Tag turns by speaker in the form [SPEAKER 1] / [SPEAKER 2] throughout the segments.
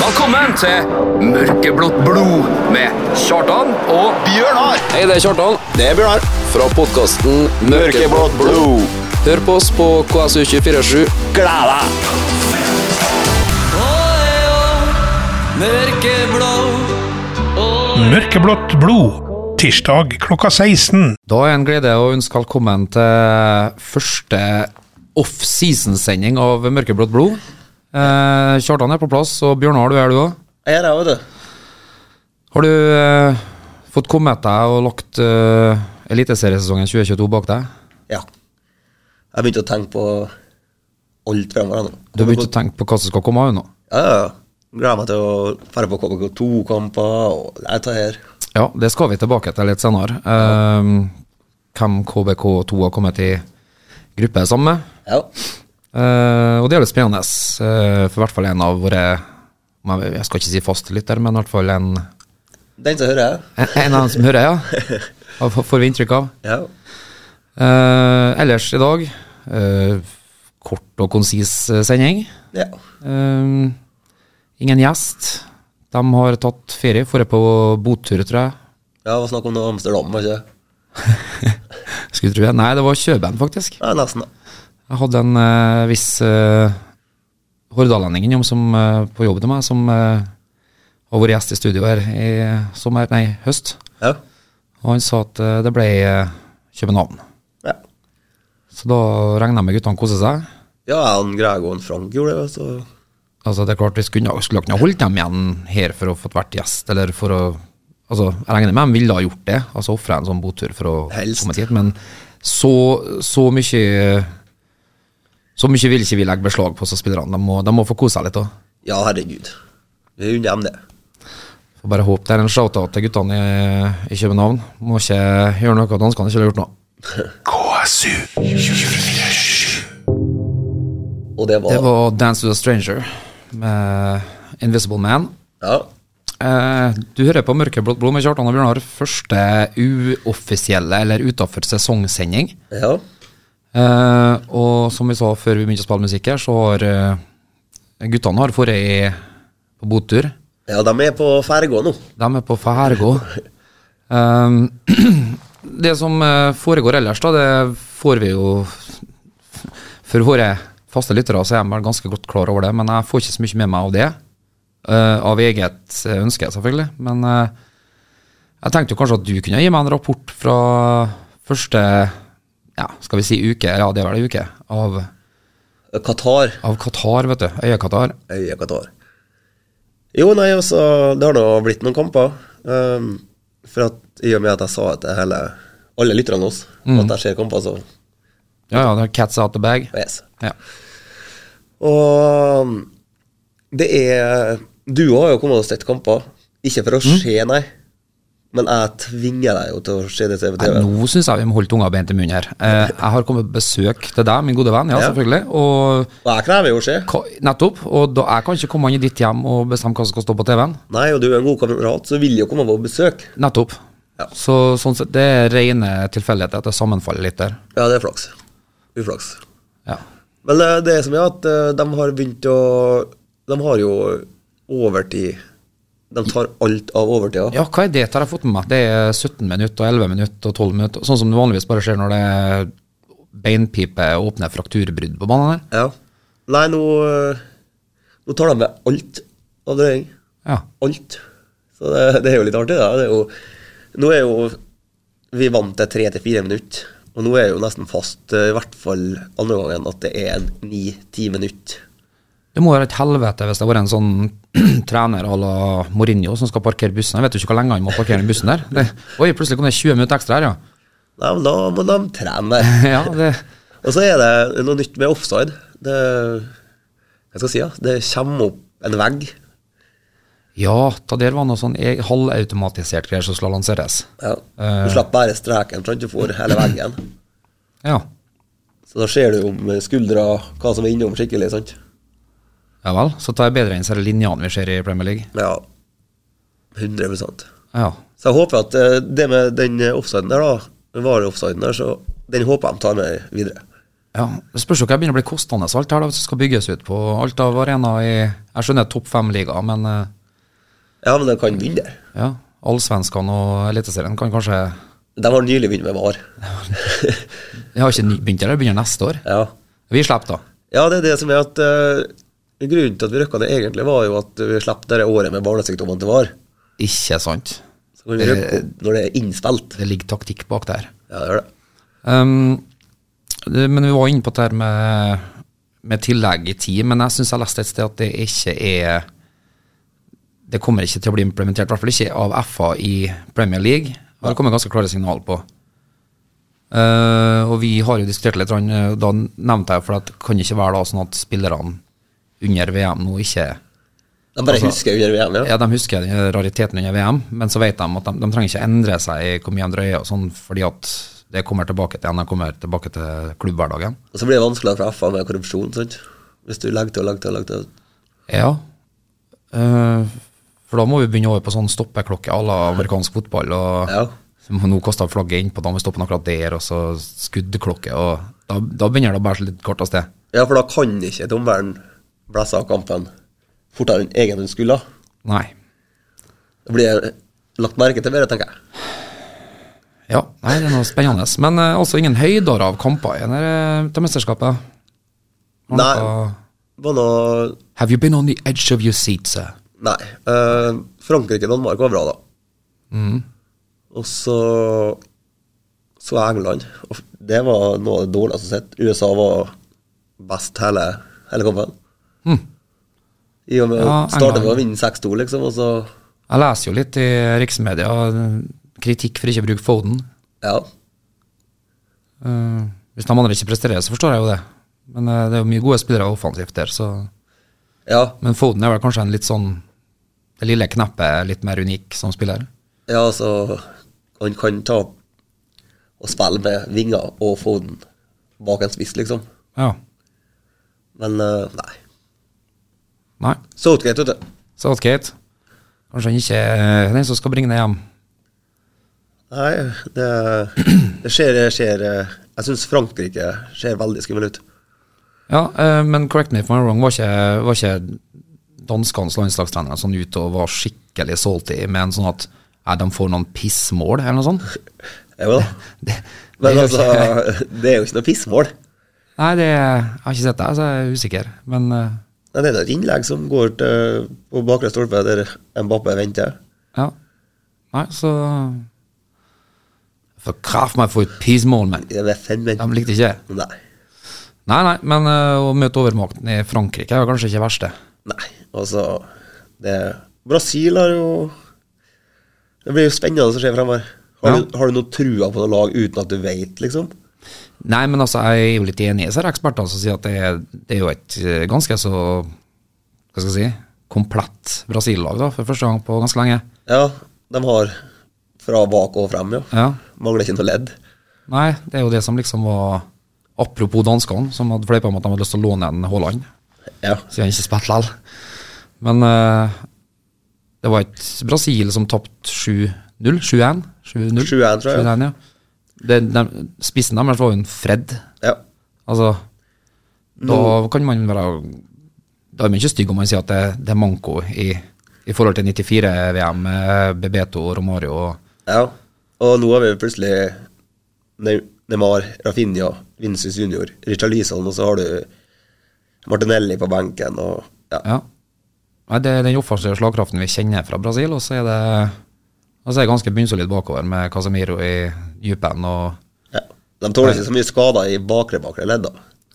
[SPEAKER 1] Velkommen til Mørkeblått blod med Kjartan og
[SPEAKER 2] Bjørnar!
[SPEAKER 3] Hei, det er Kjartan.
[SPEAKER 2] Det er Bjørnar.
[SPEAKER 3] Fra podkasten
[SPEAKER 2] Mørkeblått blod.
[SPEAKER 3] Hør på oss på KSU247.
[SPEAKER 2] Gled deg!
[SPEAKER 4] Mørkeblått blod. Tirsdag klokka 16.
[SPEAKER 3] Da er en glede å ønske velkommen til første off-season-sending av Mørkeblått blod. Eh, Kjartan er på plass, og Bjørnar, du er du òg.
[SPEAKER 5] Jeg er der, vet du.
[SPEAKER 3] Har du eh, fått kommet deg og lagt eh, eliteseriesesongen 2022 bak deg?
[SPEAKER 5] Ja. Jeg begynte å tenke på alt fremover nå.
[SPEAKER 3] Du har begynt å tenke på hva som skal komme av nå?
[SPEAKER 5] Ja, ja, ja. Gleder meg til å dra på KBK2-kamper og lære det her.
[SPEAKER 3] Ja, det skal vi tilbake til litt senere. Eh, hvem KBK2 har kommet i gruppe sammen med?
[SPEAKER 5] Ja.
[SPEAKER 3] Eh, og det er litt spennende. eh, for i hvert fall en av våre men Jeg skal ikke si fastlytter, men i hvert fall en,
[SPEAKER 5] Den som hører jeg.
[SPEAKER 3] en, en av dem som hører, ja. Av- Får vi inntrykk av.
[SPEAKER 5] Ja.
[SPEAKER 3] Eh, ellers i dag, eh, kort og konsis eh, sending.
[SPEAKER 5] ja.
[SPEAKER 3] Eh, ingen gjest. De har tatt ferie. Forrige på bottur, tror jeg.
[SPEAKER 5] Ja, det var snakk om noe Amsterdam, var ikke det?
[SPEAKER 3] Skulle tro det. Nei, det var Kjøben, faktisk.
[SPEAKER 5] Ja, nesten, da.
[SPEAKER 3] Jeg hadde en eh, viss uh, hordalending innom som, eh, på jobb til meg, som eh, har vært gjest i studio her i sommer, nei, høst.
[SPEAKER 5] Ja.
[SPEAKER 3] Og han sa at eh, det ble eh, København.
[SPEAKER 5] Ja,
[SPEAKER 3] Så da regna jeg med guttene koste seg.
[SPEAKER 5] ja han Greg og han Frank gjorde det, så
[SPEAKER 3] Altså, det er klart vi skulle, skulle kunne ha holdt dem igjen her for å få vært gjest, eller for å Altså, jeg regner med de ville ha gjort det, altså ofra en sånn botur for å
[SPEAKER 5] Helst.
[SPEAKER 3] komme dit, men så, så mye Så mye vil ikke vi legge beslag på, så spillerne. De må, de må få kose seg litt òg.
[SPEAKER 5] Ja, herregud. Vi unner dem det.
[SPEAKER 3] Får bare håpe det er en shout-out til guttene i, i København. Må ikke gjøre noe danskene ikke har gjort nå.
[SPEAKER 4] KSU.
[SPEAKER 5] Og det var,
[SPEAKER 3] Det var Dance to a Stranger med Invisible Man.
[SPEAKER 5] Ja.
[SPEAKER 3] Eh, du hører på Mørkeblått blod med Kjartan og Bjørnar. Første uoffisielle eller utafor sesongsending.
[SPEAKER 5] Ja.
[SPEAKER 3] Eh, og som vi sa før vi begynte å spille musikk her, så har eh, guttene har vært i på bottur.
[SPEAKER 5] ja, de er på ferga nå.
[SPEAKER 3] De er på Færgå. Um, det som eh, foregår ellers, da, det får vi jo For våre faste lyttere så er jeg vel ganske godt klar over det, men jeg får ikke så mye med meg av det. Eh, av eget eh, ønske, selvfølgelig. Men eh, jeg tenkte jo kanskje at du kunne gi meg en rapport fra første ja, skal vi si uke, ja det er vel en uke, av,
[SPEAKER 5] Qatar.
[SPEAKER 3] av Qatar, vet du. Øya-Qatar.
[SPEAKER 5] Øya Qatar. Jo, nei, altså, det har nå blitt noen kamper. ehm, for at, I og med at jeg sa det til hele, alle lytterne våre,
[SPEAKER 3] Mm.
[SPEAKER 5] at jeg ser kamper, så
[SPEAKER 3] Ja, ja, det er cats out the bag.
[SPEAKER 5] yes.
[SPEAKER 3] Ja.
[SPEAKER 5] Og um, det er Du har jo kommet og sett kamper. Ikke for å
[SPEAKER 3] Mm.
[SPEAKER 5] se, nei. Men jeg tvinger deg jo til å se det på
[SPEAKER 3] Nei,
[SPEAKER 5] TV.
[SPEAKER 3] nå syns jeg vi må holde tunga beint i munnen her. Eh, jeg har kommet på besøk til deg, min gode venn, ja,
[SPEAKER 5] Ja.
[SPEAKER 3] selvfølgelig. Og
[SPEAKER 5] Og jeg krever jo å se.
[SPEAKER 3] ka- nettopp. Og da, jeg kan ikke komme inn i ditt hjem og bestemme hva som skal stå på TV-en.
[SPEAKER 5] Nei, og du er en god kamerat, så vil jeg jo komme på besøk.
[SPEAKER 3] Nettopp.
[SPEAKER 5] Ja.
[SPEAKER 3] Så sånn sett, det er rene tilfeldigheter at det sammenfaller litt der.
[SPEAKER 5] Ja, det er flaks. Uflaks.
[SPEAKER 3] Ja.
[SPEAKER 5] Men eh, det som er at eh, de har begynt å De har jo overtid. De tar alt av overtida.
[SPEAKER 3] ja, hva er det? Det har jeg fått med meg. Det er 17 minutter og 11 minutter og 12 minutter. Sånn som det vanligvis bare skjer når det er beinpipe og åpne frakturbrudd på banen her.
[SPEAKER 5] Ja. Nei, nå eh, Nå tar de med alt av drøying.
[SPEAKER 3] Ja.
[SPEAKER 5] Alt. Så det, det er jo litt artig, da. Det er jo, nå er jo Vi vant til tre til fire minutter. Og nå er jo nesten fast, eh, i hvert fall andre gangen, at det er ni-ti minutter.
[SPEAKER 3] Det må være et helvete hvis det var en sånn trener à la Mourinho som skal parkere bussen. Jeg vet jo ikke hvor lenge han må parkere den bussen der. Det, oi, plutselig kom det 20 minutter ekstra her, ja.
[SPEAKER 5] Nei, men da må de trene der.
[SPEAKER 3] ja det,
[SPEAKER 5] Og så er det noe nytt med offside. Det, jeg skal si, ja, det kommer opp en vegg.
[SPEAKER 3] ja, det der var noe sånn e- halvautomatisert greier som skal lanseres.
[SPEAKER 5] Ja. Du slipper bare streken, sånn at du får hele veggen.
[SPEAKER 3] Ja,
[SPEAKER 5] Så da ser du om skuldra hva som er innom skikkelig. sant?
[SPEAKER 3] ja vel. Så tar jeg bedre inn disse linjene vi ser i Premier League.
[SPEAKER 5] Ja, 100 Så
[SPEAKER 3] Ja.
[SPEAKER 5] jeg håper at eh, det med den offsiden der, da, var det offsiden der, så den håper jeg de tar med videre.
[SPEAKER 3] Ja, Det spørs jo hva begynner å bli kostende alt her da, hvis det skal bygges ut på alt av arenaer i Jeg skjønner topp fem-liga, men eh,
[SPEAKER 5] Ja, men de kan begynne der.
[SPEAKER 3] ja, allsvenskene og Eliteserien kan kanskje
[SPEAKER 5] De har nylig begynt med VAR.
[SPEAKER 3] Jeg har ikke ny- begynt der, det begynner neste år.
[SPEAKER 5] ja.
[SPEAKER 3] Vi slipper, da.
[SPEAKER 5] ja, det er det som er at eh, Grunnen til at vi røkka det egentlig, var jo at vi slapp det der året med barnesykdommene til VAR.
[SPEAKER 3] Ikke sant.
[SPEAKER 5] Så kan vi røkke opp når det er innspilt.
[SPEAKER 3] Det ligger taktikk bak der.
[SPEAKER 5] Eh, Ja, det gjør det.
[SPEAKER 3] Um, det, men vi var inne på dette her med, med tillegg i tid, men jeg syns jeg leste et sted at det ikke er Det kommer ikke til å bli implementert, i hvert fall ikke av FA i Premier League. Det har kommet ganske klare signal på. Eh, og vi har jo diskutert litt, grann, eh, da nevnte jeg for at det kan ikke være da sånn at spillerne under VM nå ikke
[SPEAKER 5] De bare husker under VM, Altså- ja.
[SPEAKER 3] ja, De husker den rariteten under VM, men så vet de at de, de trenger ikke endre seg i hvor mye de drøyer, og sånn, fordi at det kommer tilbake til de kommer tilbake til klubbhverdagen.
[SPEAKER 5] Og så blir det vanskeligere for FA med korrupsjon, sant. Hvis du legger til og legger til og legger til.
[SPEAKER 3] Ja. Eh, for da må vi begynne over på sånn stoppeklokke à la amerikansk fotball. og
[SPEAKER 5] Ja.
[SPEAKER 3] Nå koster flagget innpå, da må vi stoppe akkurat der, og så skuddklokke. og Da, da begynner det å bære seg litt kort av sted.
[SPEAKER 5] Ja, for da kan ikke dommeren blæse av kampen fortere enn egentlig hun skulle.
[SPEAKER 3] Nei.
[SPEAKER 5] Da blir jeg lagt merke til bedre, tenker jeg.
[SPEAKER 3] Ja, nei, det er noe spennende. Men eh, altså ingen høyder av kamper i denne- til mesterskapet. Har
[SPEAKER 5] Nei.
[SPEAKER 3] noe-
[SPEAKER 5] Var noe
[SPEAKER 3] Have you been on the edge of your seat, sir?
[SPEAKER 5] Nei. Eh, Frankrike-Danmark var bra, da.
[SPEAKER 3] Mm.
[SPEAKER 5] Og så så jeg England. Og det var noe av det dårligste jeg har sett. USA var best hele, hele kampen. I og med å
[SPEAKER 3] Mm. Ja,
[SPEAKER 5] starte med å
[SPEAKER 3] England.
[SPEAKER 5] vinne 6-2, liksom, og så
[SPEAKER 3] Jeg leser jo litt i riksmedia kritikk for ikke å bruke Foden.
[SPEAKER 5] Ja.
[SPEAKER 3] Eh, hvis de andre ikke presterer, så forstår jeg jo det. Men eh, det er jo mye gode spillere offensivt der, så
[SPEAKER 5] Ja,
[SPEAKER 3] Men Foden er vel kanskje en litt sånn Det lille kneppet er litt mer unik som spiller.
[SPEAKER 5] ja altså Han kan ta og spille med vinger og Foden bak en spiss, liksom.
[SPEAKER 3] Ja.
[SPEAKER 5] Men eh, nei.
[SPEAKER 3] Nei.
[SPEAKER 5] Southgate, vet du.
[SPEAKER 3] Southgate. Kanskje han ikke er den som skal bringe det hjem.
[SPEAKER 5] Nei, det, det skjer, det skjer eh, Jeg syns Frankrike ser veldig skummel ut.
[SPEAKER 3] Ja, eh, men correct me if I'm wrong, var ikke, var ikke danskenes landslagstrenere sånn ute og var skikkelig salty med en sånn at eh, de får noen pissmål, eller noe sånt?
[SPEAKER 5] Jo da.
[SPEAKER 3] Det, det
[SPEAKER 5] Men
[SPEAKER 3] er jo
[SPEAKER 5] altså,
[SPEAKER 3] ikke-
[SPEAKER 5] det er jo ikke noe pissmål.
[SPEAKER 3] Nei, det, jeg har ikke sett det, så jeg er usikker. Men eh,
[SPEAKER 5] Nei, Det er et innlegg som går til, på bakre stolpe der Mbappé venter.
[SPEAKER 3] ja. Nei, så For kraft meg for et pismål, men
[SPEAKER 5] Det er fem menn.
[SPEAKER 3] de likte ikke det.
[SPEAKER 5] Nei.
[SPEAKER 3] Nei, nei, men eh, å møte overmakten i Frankrike er jo kanskje ikke det verste.
[SPEAKER 5] Nei, altså det, Brasil har jo Det blir jo spennende å se fremover. Har,
[SPEAKER 3] Ja.
[SPEAKER 5] du, har du noe trua på noe lag uten at du veit, liksom?
[SPEAKER 3] Nei, men altså, jeg er jo litt enig i disse her ekspertene som sier at det er, det er jo et eh, ganske så Hva skal jeg si komplett Brasil-lag, da, for første gang på ganske lenge.
[SPEAKER 5] Ja, de har fra bak og frem, jo.
[SPEAKER 3] Ja.
[SPEAKER 5] Mangler ikke noe ledd.
[SPEAKER 3] Nei, det er jo det som liksom var Apropos danskene, som hadde fleipa om at de hadde lyst til å låne en Haaland.
[SPEAKER 5] Ja.
[SPEAKER 3] siden han ikke spilte likevel. Men eh, det var et Brasil som tapte 7-0. 7-1, 7-0.
[SPEAKER 5] 7-1, tror jeg.
[SPEAKER 3] 7-1, ja. Det, de, spissen deres var jo en Fred.
[SPEAKER 5] ja.
[SPEAKER 3] Altså, da
[SPEAKER 5] Mm.
[SPEAKER 3] kan man være Da er man ikke stygg om man sier at det, det er manko i, i forhold til 94-VM med Bebeto og Romario. og-
[SPEAKER 5] ja. Og nå har vi jo plutselig Ne- Neymar, Rafinha, Vinicius Junior, Richard Lison, og så har du Martinelli på benken, og ja.
[SPEAKER 3] Ja. Nei, det er den offensive slagkraften vi kjenner fra Brasil, og så er det og så er det ganske bunnsolid bakover med Casemiro i dypen og
[SPEAKER 5] ja. De tåler ikke så mye skader i bakre, bakre ledd, da.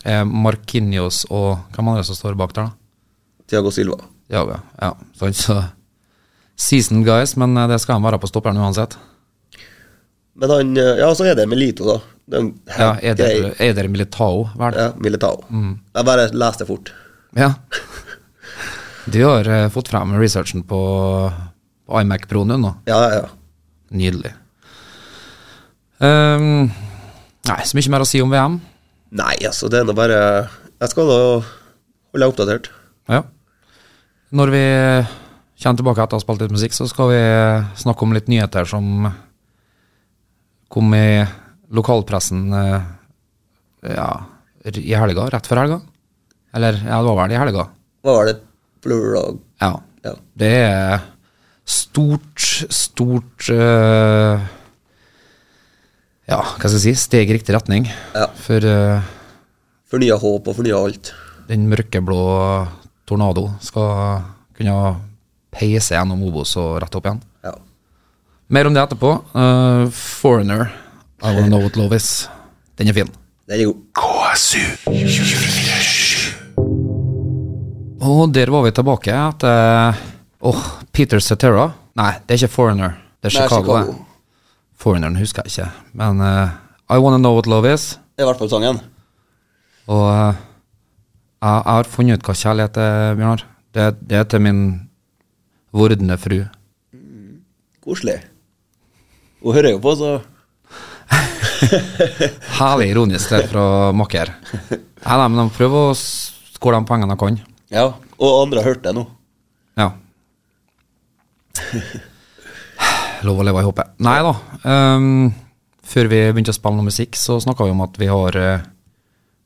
[SPEAKER 3] eh, Markinios og hvem andre som står bak der, da?
[SPEAKER 5] Tiago Silva.
[SPEAKER 3] Diago, ja. Så, så seasoned guys, men eh, det skal han være på stopperen uansett.
[SPEAKER 5] Men han Ja, så er det Melito, da. Det er en
[SPEAKER 3] Ja,
[SPEAKER 5] helt grei-
[SPEAKER 3] Eder, Eder Militao, vel?
[SPEAKER 5] Ja, Militao. Jeg bare leste det fort.
[SPEAKER 3] Ja. Du har eh, fått frem researchen på, på iMac Pro nå. nå.
[SPEAKER 5] Ja, ja, ja.
[SPEAKER 3] Nydelig. Ehm, nei, så mye mer å si om VM.
[SPEAKER 5] Nei, altså, det er nå bare Jeg skal nå holde deg oppdatert.
[SPEAKER 3] Ja. Når vi kommer tilbake etter å ha spilt litt musikk, så skal vi snakke om litt nyheter som kom i lokalpressen eh, ja, r- i helga, rett før helga. Eller ja, det var vel i helga.
[SPEAKER 5] Hva var det? Plurdag?
[SPEAKER 3] Ja.
[SPEAKER 5] Ja.
[SPEAKER 3] Det er stort, stort eh, Ja, hva skal jeg si? Steg i riktig retning
[SPEAKER 5] Ja.
[SPEAKER 3] for eh,
[SPEAKER 5] Fornya håp og fornya alt.
[SPEAKER 3] den mørkeblå tornado skal kunne peise gjennom Obos og rett opp igjen.
[SPEAKER 5] Ja.
[SPEAKER 3] Mer om det etterpå. Eh, 'Foreigner', 'I Will Know What Love Is'. Den er fin.
[SPEAKER 5] Den er god.
[SPEAKER 3] Og der var vi tilbake etter Åh, Peter Cetera. Nei, det er ikke 'Foreigner'. Det er
[SPEAKER 5] Nei,
[SPEAKER 3] Chicago.
[SPEAKER 5] Chicago.
[SPEAKER 3] Chicago. Foreigneren husker jeg ikke. Men eh, 'I Wanna Know What Love Is'
[SPEAKER 5] Det er i hvert fall sangen.
[SPEAKER 3] Og eh, jeg, jeg har funnet ut hva kjærlighet er, Bjørnar. Det, det er til min vordende fru.
[SPEAKER 5] Koselig. Hun hører jo på, så
[SPEAKER 3] Herlig ironisk det fra makker. Nei, nei, men de prøver å skåle de pengene de kan.
[SPEAKER 5] Ja. Og andre har hørt det nå.
[SPEAKER 3] Ja. Lov å leve i håpet. Nei da. ehm, før vi begynte å spille noe musikk, så snakka vi om at vi har eh,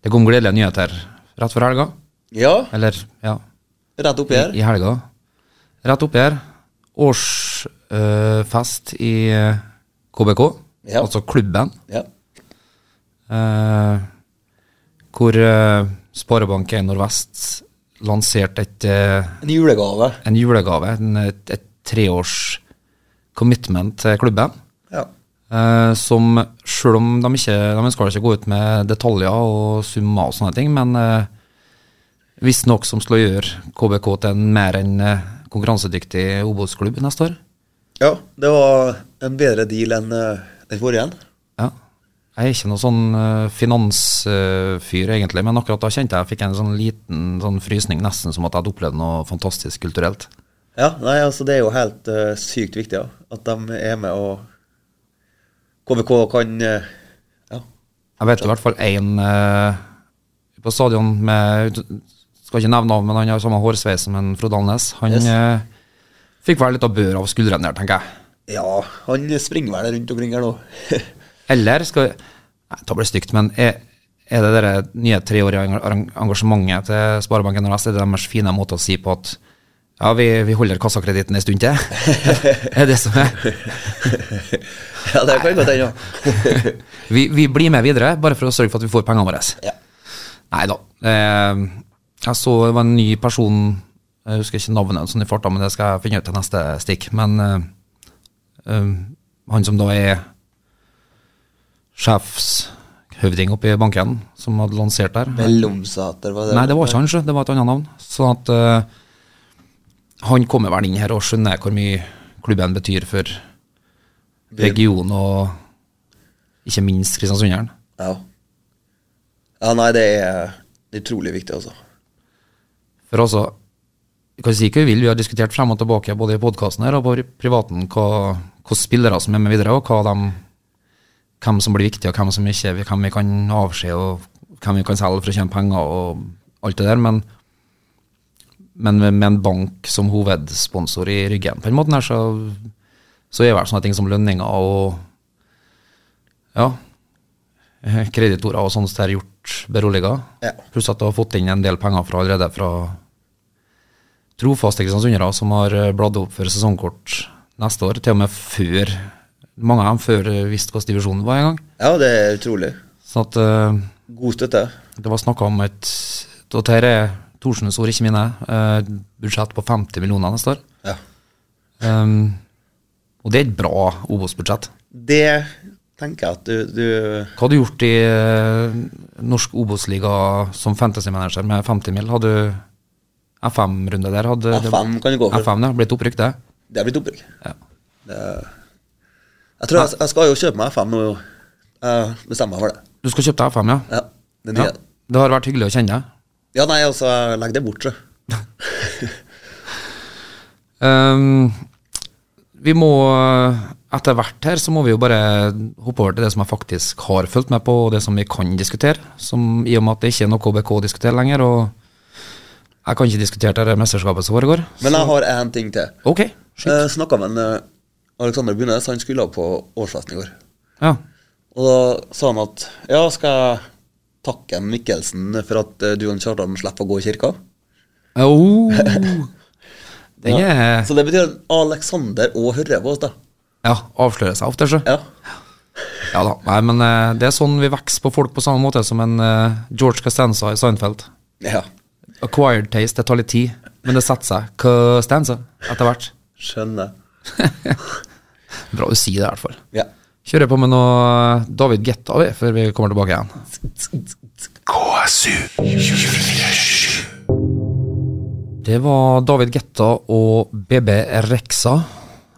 [SPEAKER 3] Det kom gledelige nyheter rett før helga.
[SPEAKER 5] Ja,
[SPEAKER 3] Eller, ja.
[SPEAKER 5] rett oppi her.
[SPEAKER 3] I helga. Rett oppi her. Årsfest i eh, KBK,
[SPEAKER 5] Ja.
[SPEAKER 3] altså klubben,
[SPEAKER 5] Ja.
[SPEAKER 3] eh, hvor eh, Sparebank1 Nordvest lanserte et, eh,
[SPEAKER 5] En julegave.
[SPEAKER 3] en julegave, en, et, et treårs commitment til klubben.
[SPEAKER 5] Ja.
[SPEAKER 3] Eh, som selv om de ikke De ønsker ikke å gå ut med detaljer og summer og sånne ting, men eh, visstnok som skal gjøre KBK til en mer enn eh, konkurransedyktig Obos-klubb neste år.
[SPEAKER 5] ja. Det var en bedre deal enn eh, den forrige. en.
[SPEAKER 3] Ja. Jeg er ikke noe sånn eh, finansfyr, egentlig, men akkurat da kjente jeg jeg fikk en sånn liten sånn frysning, nesten som at jeg hadde opplevd noe fantastisk kulturelt.
[SPEAKER 5] Ja, nei, altså det er jo helt eh, sykt viktig ja. at de er med og KVK kan eh, ja.
[SPEAKER 3] Jeg vet i hvert fall én på stadion med Skal ikke nevne navn, men han har samme hårsveis som en Frode Alnes. Han
[SPEAKER 5] Yes.
[SPEAKER 3] eh, fikk vel litt av bør av skuldrene der, tenker jeg.
[SPEAKER 5] ja, han springer vel rundt omkring her nå.
[SPEAKER 3] Eller skal Nei, det blir stygt, men er, er det det nye treårige enga- arrang- engasjementet til Sparebanken Nordvest, er det deres fine måte å si på at ja, vi, vi holder kassakreditten en stund til? er det som er
[SPEAKER 5] ja, det kan godt hende. ja.
[SPEAKER 3] vi, vi blir med videre, bare for å sørge for at vi får pengene våre.
[SPEAKER 5] Ja.
[SPEAKER 3] Nei da. Eh, jeg så det var en ny person, jeg husker ikke navnet sånn i farta, men det skal jeg finne ut til neste stikk. Men eh, eh, han som da er sjefshøvding oppe i banken, som hadde lansert der
[SPEAKER 5] Mellomsæter, var det?
[SPEAKER 3] Nei, det var ikke han, sjø. det var et annet navn. Sånn at eh, han kommer vel inn her og skjønner hvor mye klubben betyr for regionen og ikke minst Kristiansunderen.
[SPEAKER 5] Ja. ja, nei, det er utrolig viktig, altså.
[SPEAKER 3] For altså, vi kan si hva vi vil, vi har diskutert frem og tilbake både i podkasten her og på pri- privaten hva, hva spillere som er med videre, og hva de, hvem som blir viktig, og hvem som ikke hvem vi kan avskje, og hvem vi kan selge for å tjene penger, og alt det der. Men, men med, med en bank som hovedsponsor i ryggen, på en måte, her, så, så er vel sånne ting som lønninger og ja, eh, kreditorer og sånt der gjort beroliget.
[SPEAKER 5] Ja.
[SPEAKER 3] Pluss at du har fått inn en del penger fra allerede fra trofaste kristiansundere som har eh, bladd opp for sesongkort neste år, til og med før mange av dem før eh, visste hvilken divisjon det var en gang.
[SPEAKER 5] Ja, det er utrolig.
[SPEAKER 3] Sånn at eh,
[SPEAKER 5] God støtte.
[SPEAKER 3] det var snakka om et og Dette er Thorsens ord, ikke mine. eh, budsjett på 50 millioner neste år.
[SPEAKER 5] Ja.
[SPEAKER 3] Um, og det er et bra Obos-budsjett.
[SPEAKER 5] Det tenker jeg at du, du
[SPEAKER 3] Hva hadde du gjort i eh, norsk Obos-liga som fantasy-manager med 50 mil? Hadde du FM-runde der? Hadde
[SPEAKER 5] FM kan du gå for.
[SPEAKER 3] FM, ja. Blitt opprykk, det.
[SPEAKER 5] Det er blitt opprykk.
[SPEAKER 3] Ja.
[SPEAKER 5] Det, jeg tror jeg, jeg skal jo kjøpe meg FM nå. Jeg bestemmer meg for det.
[SPEAKER 3] Du skal kjøpe deg FM, ja.
[SPEAKER 5] Ja, det
[SPEAKER 3] ja.
[SPEAKER 5] nye.
[SPEAKER 3] Det har vært hyggelig å kjenne deg.
[SPEAKER 5] Ja, nei, altså, jeg legger det bort, så.
[SPEAKER 3] Ehm, vi må etter hvert her så må vi jo bare hoppe over til det som jeg faktisk har fulgt med på, og det som vi kan diskutere. Som, I og med at det ikke er noe KBK å diskutere lenger. Og jeg kan ikke diskutere det her mesterskapet som foregår.
[SPEAKER 5] Men jeg har én ting til.
[SPEAKER 3] Ok, skyt.
[SPEAKER 5] Jeg snakka med en eh, Alexander Bunes, han skulle på årsfesten i går.
[SPEAKER 3] Ja.
[SPEAKER 5] Og da sa han at ja, skal jeg takke Mikkelsen for at eh, du og Kjartan slipper å gå i kirka.
[SPEAKER 3] Oh, den er
[SPEAKER 5] Så det betyr at Alexander òg hører på oss, da.
[SPEAKER 3] Ja, avslører seg ofte, sjø.
[SPEAKER 5] Ja.
[SPEAKER 3] Ja da. Nei, men eh, det er sånn vi vokser på folk på samme måte som en eh, George Costanza i Seinfeld.
[SPEAKER 5] ja.
[SPEAKER 3] Acquired taste, det tar litt tid, men det setter seg. Costanza, etter hvert.
[SPEAKER 5] Skjønner.
[SPEAKER 3] Bra du sier det, i hvert fall.
[SPEAKER 5] Ja.
[SPEAKER 3] Kjører på med noe David Getta vi, før vi kommer tilbake igjen.
[SPEAKER 4] KSU.
[SPEAKER 3] Det var David Getta og BB Rexa.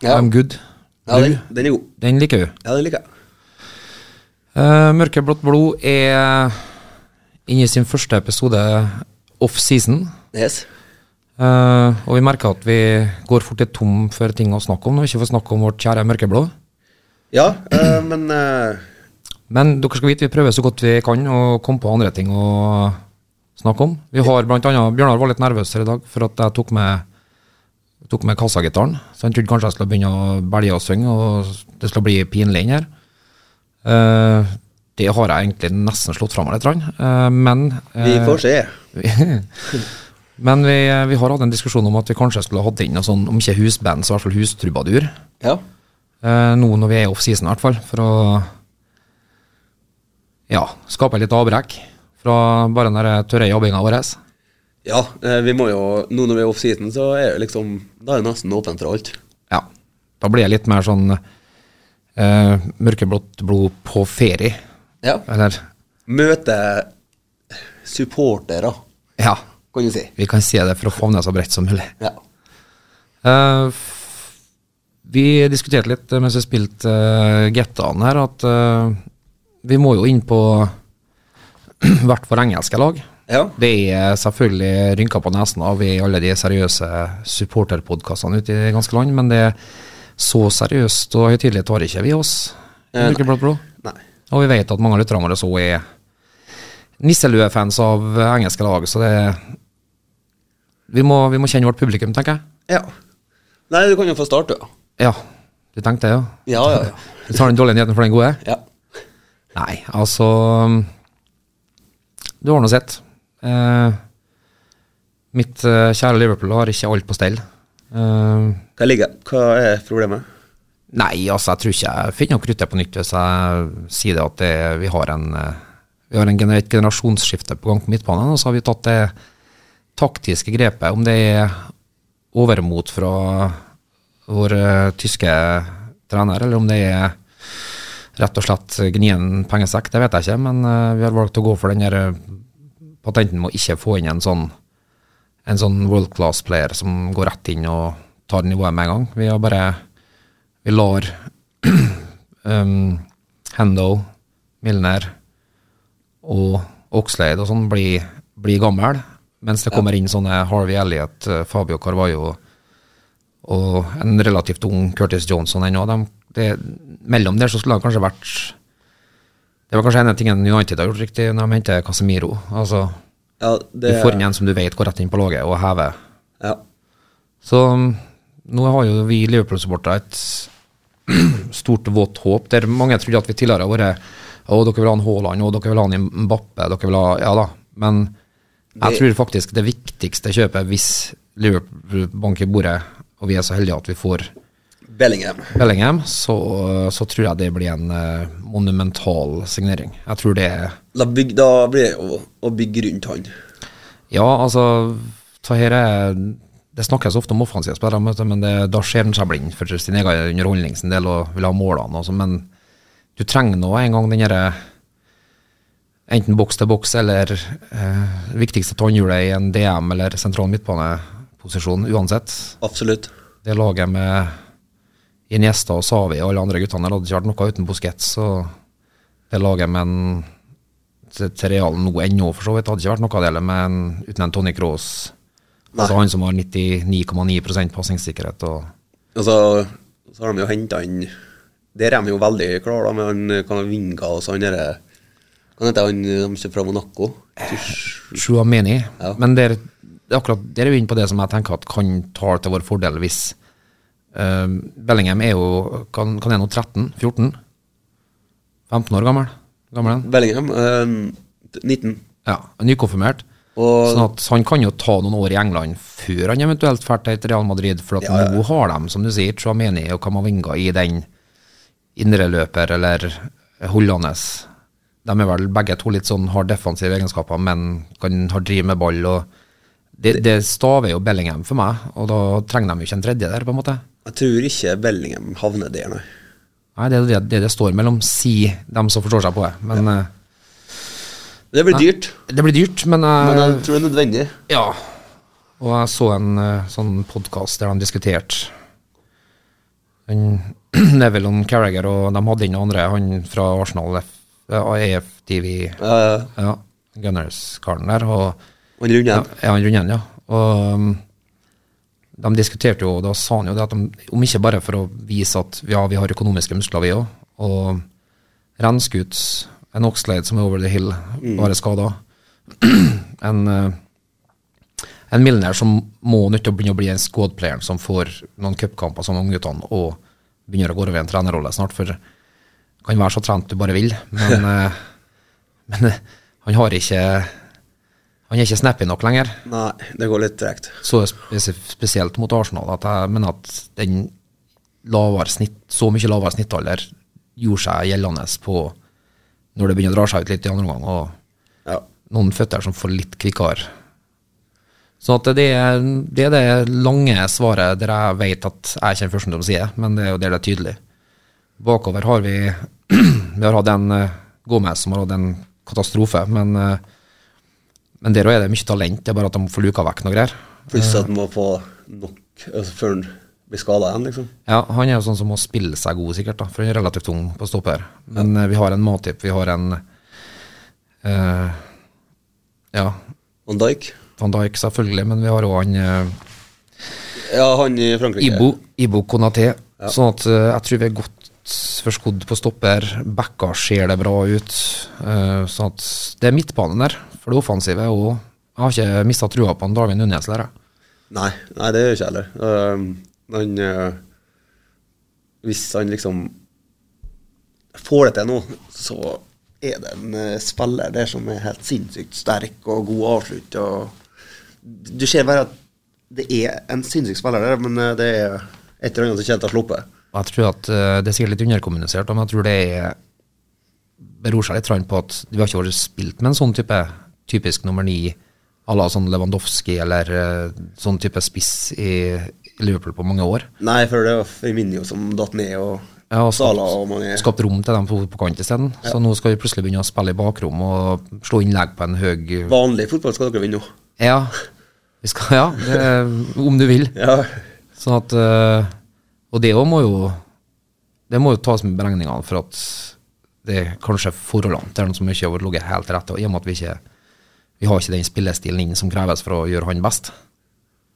[SPEAKER 5] Ja.
[SPEAKER 3] I'm good.
[SPEAKER 5] ja den,
[SPEAKER 3] Du,
[SPEAKER 5] den er god.
[SPEAKER 3] den liker du.
[SPEAKER 5] Ja, den liker jeg.
[SPEAKER 3] Eh, Mørkeblått blod er inne i sin første episode off-season.
[SPEAKER 5] Yes.
[SPEAKER 3] Eh, og vi merker at vi går fort litt tom for ting å snakke om når vi ikke får snakke om vårt kjære mørkeblå.
[SPEAKER 5] Ja, eh, men eh,
[SPEAKER 3] Men dere skal vite, vi prøver så godt vi kan å komme på andre ting å snakke om. Vi har blant annet, Bjørnar var litt nervøs her i dag for at jeg tok med, tok med kassagitaren. Så han trodde kanskje jeg skulle begynne å belge og synge, og det skulle bli pinlig inn her. Eh, det har jeg egentlig nesten slått fra meg litt, grann. Eh, men
[SPEAKER 5] vi
[SPEAKER 3] eh,
[SPEAKER 5] får se.
[SPEAKER 3] Vi- Men vi, eh, vi har hatt en diskusjon om at vi kanskje skulle hatt inn noe sånn, om ikke husband, så i hvert fall hustrubadur.
[SPEAKER 5] Ja.
[SPEAKER 3] Eh, nå når vi er i offseason, i hvert fall, for å ja, skape litt avbrekk fra bare den der tørre jobbinga vår.
[SPEAKER 5] Ja, eh, vi må jo Nå når vi er off-season, så er det liksom Da er det nesten åpent for alt.
[SPEAKER 3] Ja. Da blir det litt mer sånn eh, mørkeblått blod på ferie.
[SPEAKER 5] Ja.
[SPEAKER 3] Eller
[SPEAKER 5] Møte supportere,
[SPEAKER 3] ja,
[SPEAKER 5] kan du si.
[SPEAKER 3] vi kan si det for å favne så bredt som mulig.
[SPEAKER 5] Ja.
[SPEAKER 3] Eh, f- vi diskuterte litt eh, mens vi spilte uh, Gettan her, at eh, vi må jo inn på hvert vår engelske lag.
[SPEAKER 5] Ja.
[SPEAKER 3] Det er eh, selvfølgelig rynker på nesen av i alle de seriøse supporterpodkastene ute i det ganske land, men det er så seriøst og høytidelig tar ikke vi oss. i
[SPEAKER 5] Eh, nei.
[SPEAKER 3] Mørkeblått blod.
[SPEAKER 5] Nei.
[SPEAKER 3] Og vi vet at mange av lytterne våre så er nisselue-fans av eh, engelske lag, så det vi må, vi må kjenne vårt publikum, tenker jeg.
[SPEAKER 5] Ja. Nei, du kan jo få starte, ja.
[SPEAKER 3] Ja, du tenkte det, ja.
[SPEAKER 5] Ja, ja, ja.
[SPEAKER 3] Du tar den dårlige nyheten for den gode?
[SPEAKER 5] ja.
[SPEAKER 3] Nei, altså um, Du har nå sett. Eh, mitt eh, kjære Liverpool har ikke alt på stell. Eh,
[SPEAKER 5] Hva, ligger, hva er problemet?
[SPEAKER 3] nei, altså, jeg tror ikke jeg finner noe kruttet på nytt hvis jeg sier det at det, vi har en eh, vi har en gener et generasjonsskifte på gang på midtbanen, og så har vi tatt det taktiske grepet, om det er overmot fra vår eh, tyske trener, eller om det er rett og slett gnien pengesekk, det vet jeg ikke, men eh, vi har valgt å gå for den der eh, patenten med å ikke få inn en sånn, en sånn world class player som går rett inn og tar nivået med en gang. Vi har bare Vi lar um, Hendo, Milner og Oxlade og sånn bli, bli gammel, mens det kommer inn sånne Harvey Elliot, eh, Fabio Carvalho og en relativt ung Curtis Johnson ennå. De, det, mellom der så skulle det kanskje vært Det var kanskje en av tingene United har gjort riktig når de henter Casemiro. Altså,
[SPEAKER 5] Ja, det,
[SPEAKER 3] Du får inn en som du vet går rett inn på laget og hever.
[SPEAKER 5] Ja.
[SPEAKER 3] Så mm, nå har jo vi Liverpool-supportere et stort, vått håp. Der mange trodde at vi tidligere har vært Å, dere vil ha en Haaland, å, dere vil ha en Mbappe, dere vil ha Ja da. Men jeg tror faktisk det viktigste kjøpet, hvis Liverpool banker i bordet, og vi er så heldige at vi får
[SPEAKER 5] Bellingham.
[SPEAKER 3] Bellingham, så, så tror jeg det blir en eh, monumental signering. Jeg tror det er
[SPEAKER 5] Da, byg, da blir det jo å bygge rundt han.
[SPEAKER 3] Ja, altså så her er, Det snakkes ofte om offensive spillere, men- men det, da ser den seg blind for sin egen underholdning sin del og vil ha målene. og sånn, men du trenger nå en gang den derre Enten boks til boks eller eh, viktigste tannhjulet i en DM eller sentral midtbaneposisjon, uansett.
[SPEAKER 5] Absolutt.
[SPEAKER 3] det laget med Iniesta og Savi og alle andre guttene der hadde ikke vært noe uten Busquets. Så det laget med en til- til Real nå ennå, for så vidt, hadde ikke vært noe av det heller, med en- uten en Tony Cross. Altså han som har 99,9 pasningssikkerhet og
[SPEAKER 5] Og så, Altså, så har de jo henta han Der er de jo veldig klare, da, med han Kanavinga og så han derre Hva heter han de som er fra Monaco? Tush.
[SPEAKER 3] Shuameni.
[SPEAKER 5] Ja.
[SPEAKER 3] Men der, det er akkurat, der er vi inne på det som jeg tenker at kan ta til vår fordel hvis eh, Bellingham er jo kan, kan er nå 13-14? 15 år gammel? Gammel en?
[SPEAKER 5] Bellingham. eh, 19.
[SPEAKER 3] Ja, Nykonfirmert.
[SPEAKER 5] Og-
[SPEAKER 3] sånn at han kan jo ta noen år i England før han eventuelt drar til et Real Madrid, for at nå har de, som du sier, Chouameni og Camavinga i den indreløper eller hollandes. De er vel begge to litt sånn har defensive egenskaper, men kan har driv med ball. og det, det staver jo Bellingham for meg, og da trenger de jo ikke en tredje der, på en måte.
[SPEAKER 5] Jeg tror ikke Bellingham havner der, nei.
[SPEAKER 3] Nei, det er det det, det står mellom, si dem som forstår seg på det. Men eh,
[SPEAKER 5] Det blir dyrt,
[SPEAKER 3] det blir dyrt, men, eh,
[SPEAKER 5] men jeg tror det er nødvendig.
[SPEAKER 3] Ja. Og jeg så en eh, sånn podkast der de diskuterte Den- Det er vel om Carragher, og de hadde inn noen andre, han fra Arsenal, F- eh, AFTV,
[SPEAKER 5] Eh,
[SPEAKER 3] ja, Gunners-karen der. og
[SPEAKER 5] Og runde igjen.
[SPEAKER 3] ja, han Runen, ja. Og um, de diskuterte jo, da sa han jo det at de, om ikke bare for å vise at ja, vi har økonomiske muskler, vi òg, og renske ut en Oxlade som er over the hill, bare skada, en, eh, en Milner som må nødt til å begynne å bli en squad-player som får noen cupkamper som ungguttene, og begynner å gå over i en trenerrolle snart, for kan være så trent du bare vil, men, eh, men eh, han har ikke han er ikke snappy nok lenger.
[SPEAKER 5] Nei, det går litt tregt.
[SPEAKER 3] Så spes spesielt mot Arsenal at jeg mener at den lavere snitt, så mye lavere snittalder gjorde seg gjeldende på når det begynner å dra seg ut litt i andre omgang, og
[SPEAKER 5] Ja.
[SPEAKER 3] noen føtter som får litt kvikkere. Så at det, er, det er det lange svaret der jeg vet at jeg er ikke den første som sier det, men det er jo der det er tydelig. Bakover har vi Vi har hatt en eh, Gomez som har hatt en katastrofe, men, eh, men der òg er det mye talent, det er bare at de får luka vekk noe greier.
[SPEAKER 5] Pluss
[SPEAKER 3] Eh.
[SPEAKER 5] at han må få nok altså, før han blir skada igjen, liksom.
[SPEAKER 3] Ja, han er jo sånn som må spille seg god, sikkert, da, for han er relativt tung på stopper. Men eh, vi har en Matip, vi har en eh, Ja,
[SPEAKER 5] Van Dijk.
[SPEAKER 3] van Dijk selvfølgelig, men vi har òg han eh,
[SPEAKER 5] Ja, han i Frankrike.
[SPEAKER 3] Ibo, Ibo Konaté. Sånn at eh, jeg tror vi er godt forskodd på stopper. Backa ser det bra ut. eh, sånn at det er midtbanen der, for det offensive er jo Jeg har ikke mista trua på han Darwin Nunes der, jeg.
[SPEAKER 5] Nei, nei, det gjør ikke jeg heller. Eh, han eh, Hvis han liksom får det til nå, så er det en eh, spiller der som er helt sinnssykt sterk og god avslutt. Og du ser bare at det er en sinnssyk spiller der, men eh, det er et eller annet som ikke helt har sluppet.
[SPEAKER 3] Og jeg tror at eh, Det er sikkert litt underkommunisert, men jeg tror det er beror seg litt på at vi har ikke vært spilt med en sånn type typisk nummer ni à la sånn Lewandowski eller eh, sånn type spiss i i Liverpool på mange år.
[SPEAKER 5] Nei, for det var Firmino som datt ned, og,
[SPEAKER 3] Ja, og skapt,
[SPEAKER 5] Salah og mange
[SPEAKER 3] skapt rom til dem på, på kant isteden. Så nå skal vi plutselig begynne å spille i bakrom og slå innlegg på en høy
[SPEAKER 5] Vanlig fotball skal dere vinne nå.
[SPEAKER 3] Ja, vi skal, ja det, om du vil.
[SPEAKER 5] Ja.
[SPEAKER 3] Sånn at eh, Og det òg må jo Det må jo tas med i beregningene for at det er kanskje forholdene til den som ikke har ligget helt til rette, og i og med at vi ikke Vi har ikke den spillestilen inn som kreves for å gjøre han best.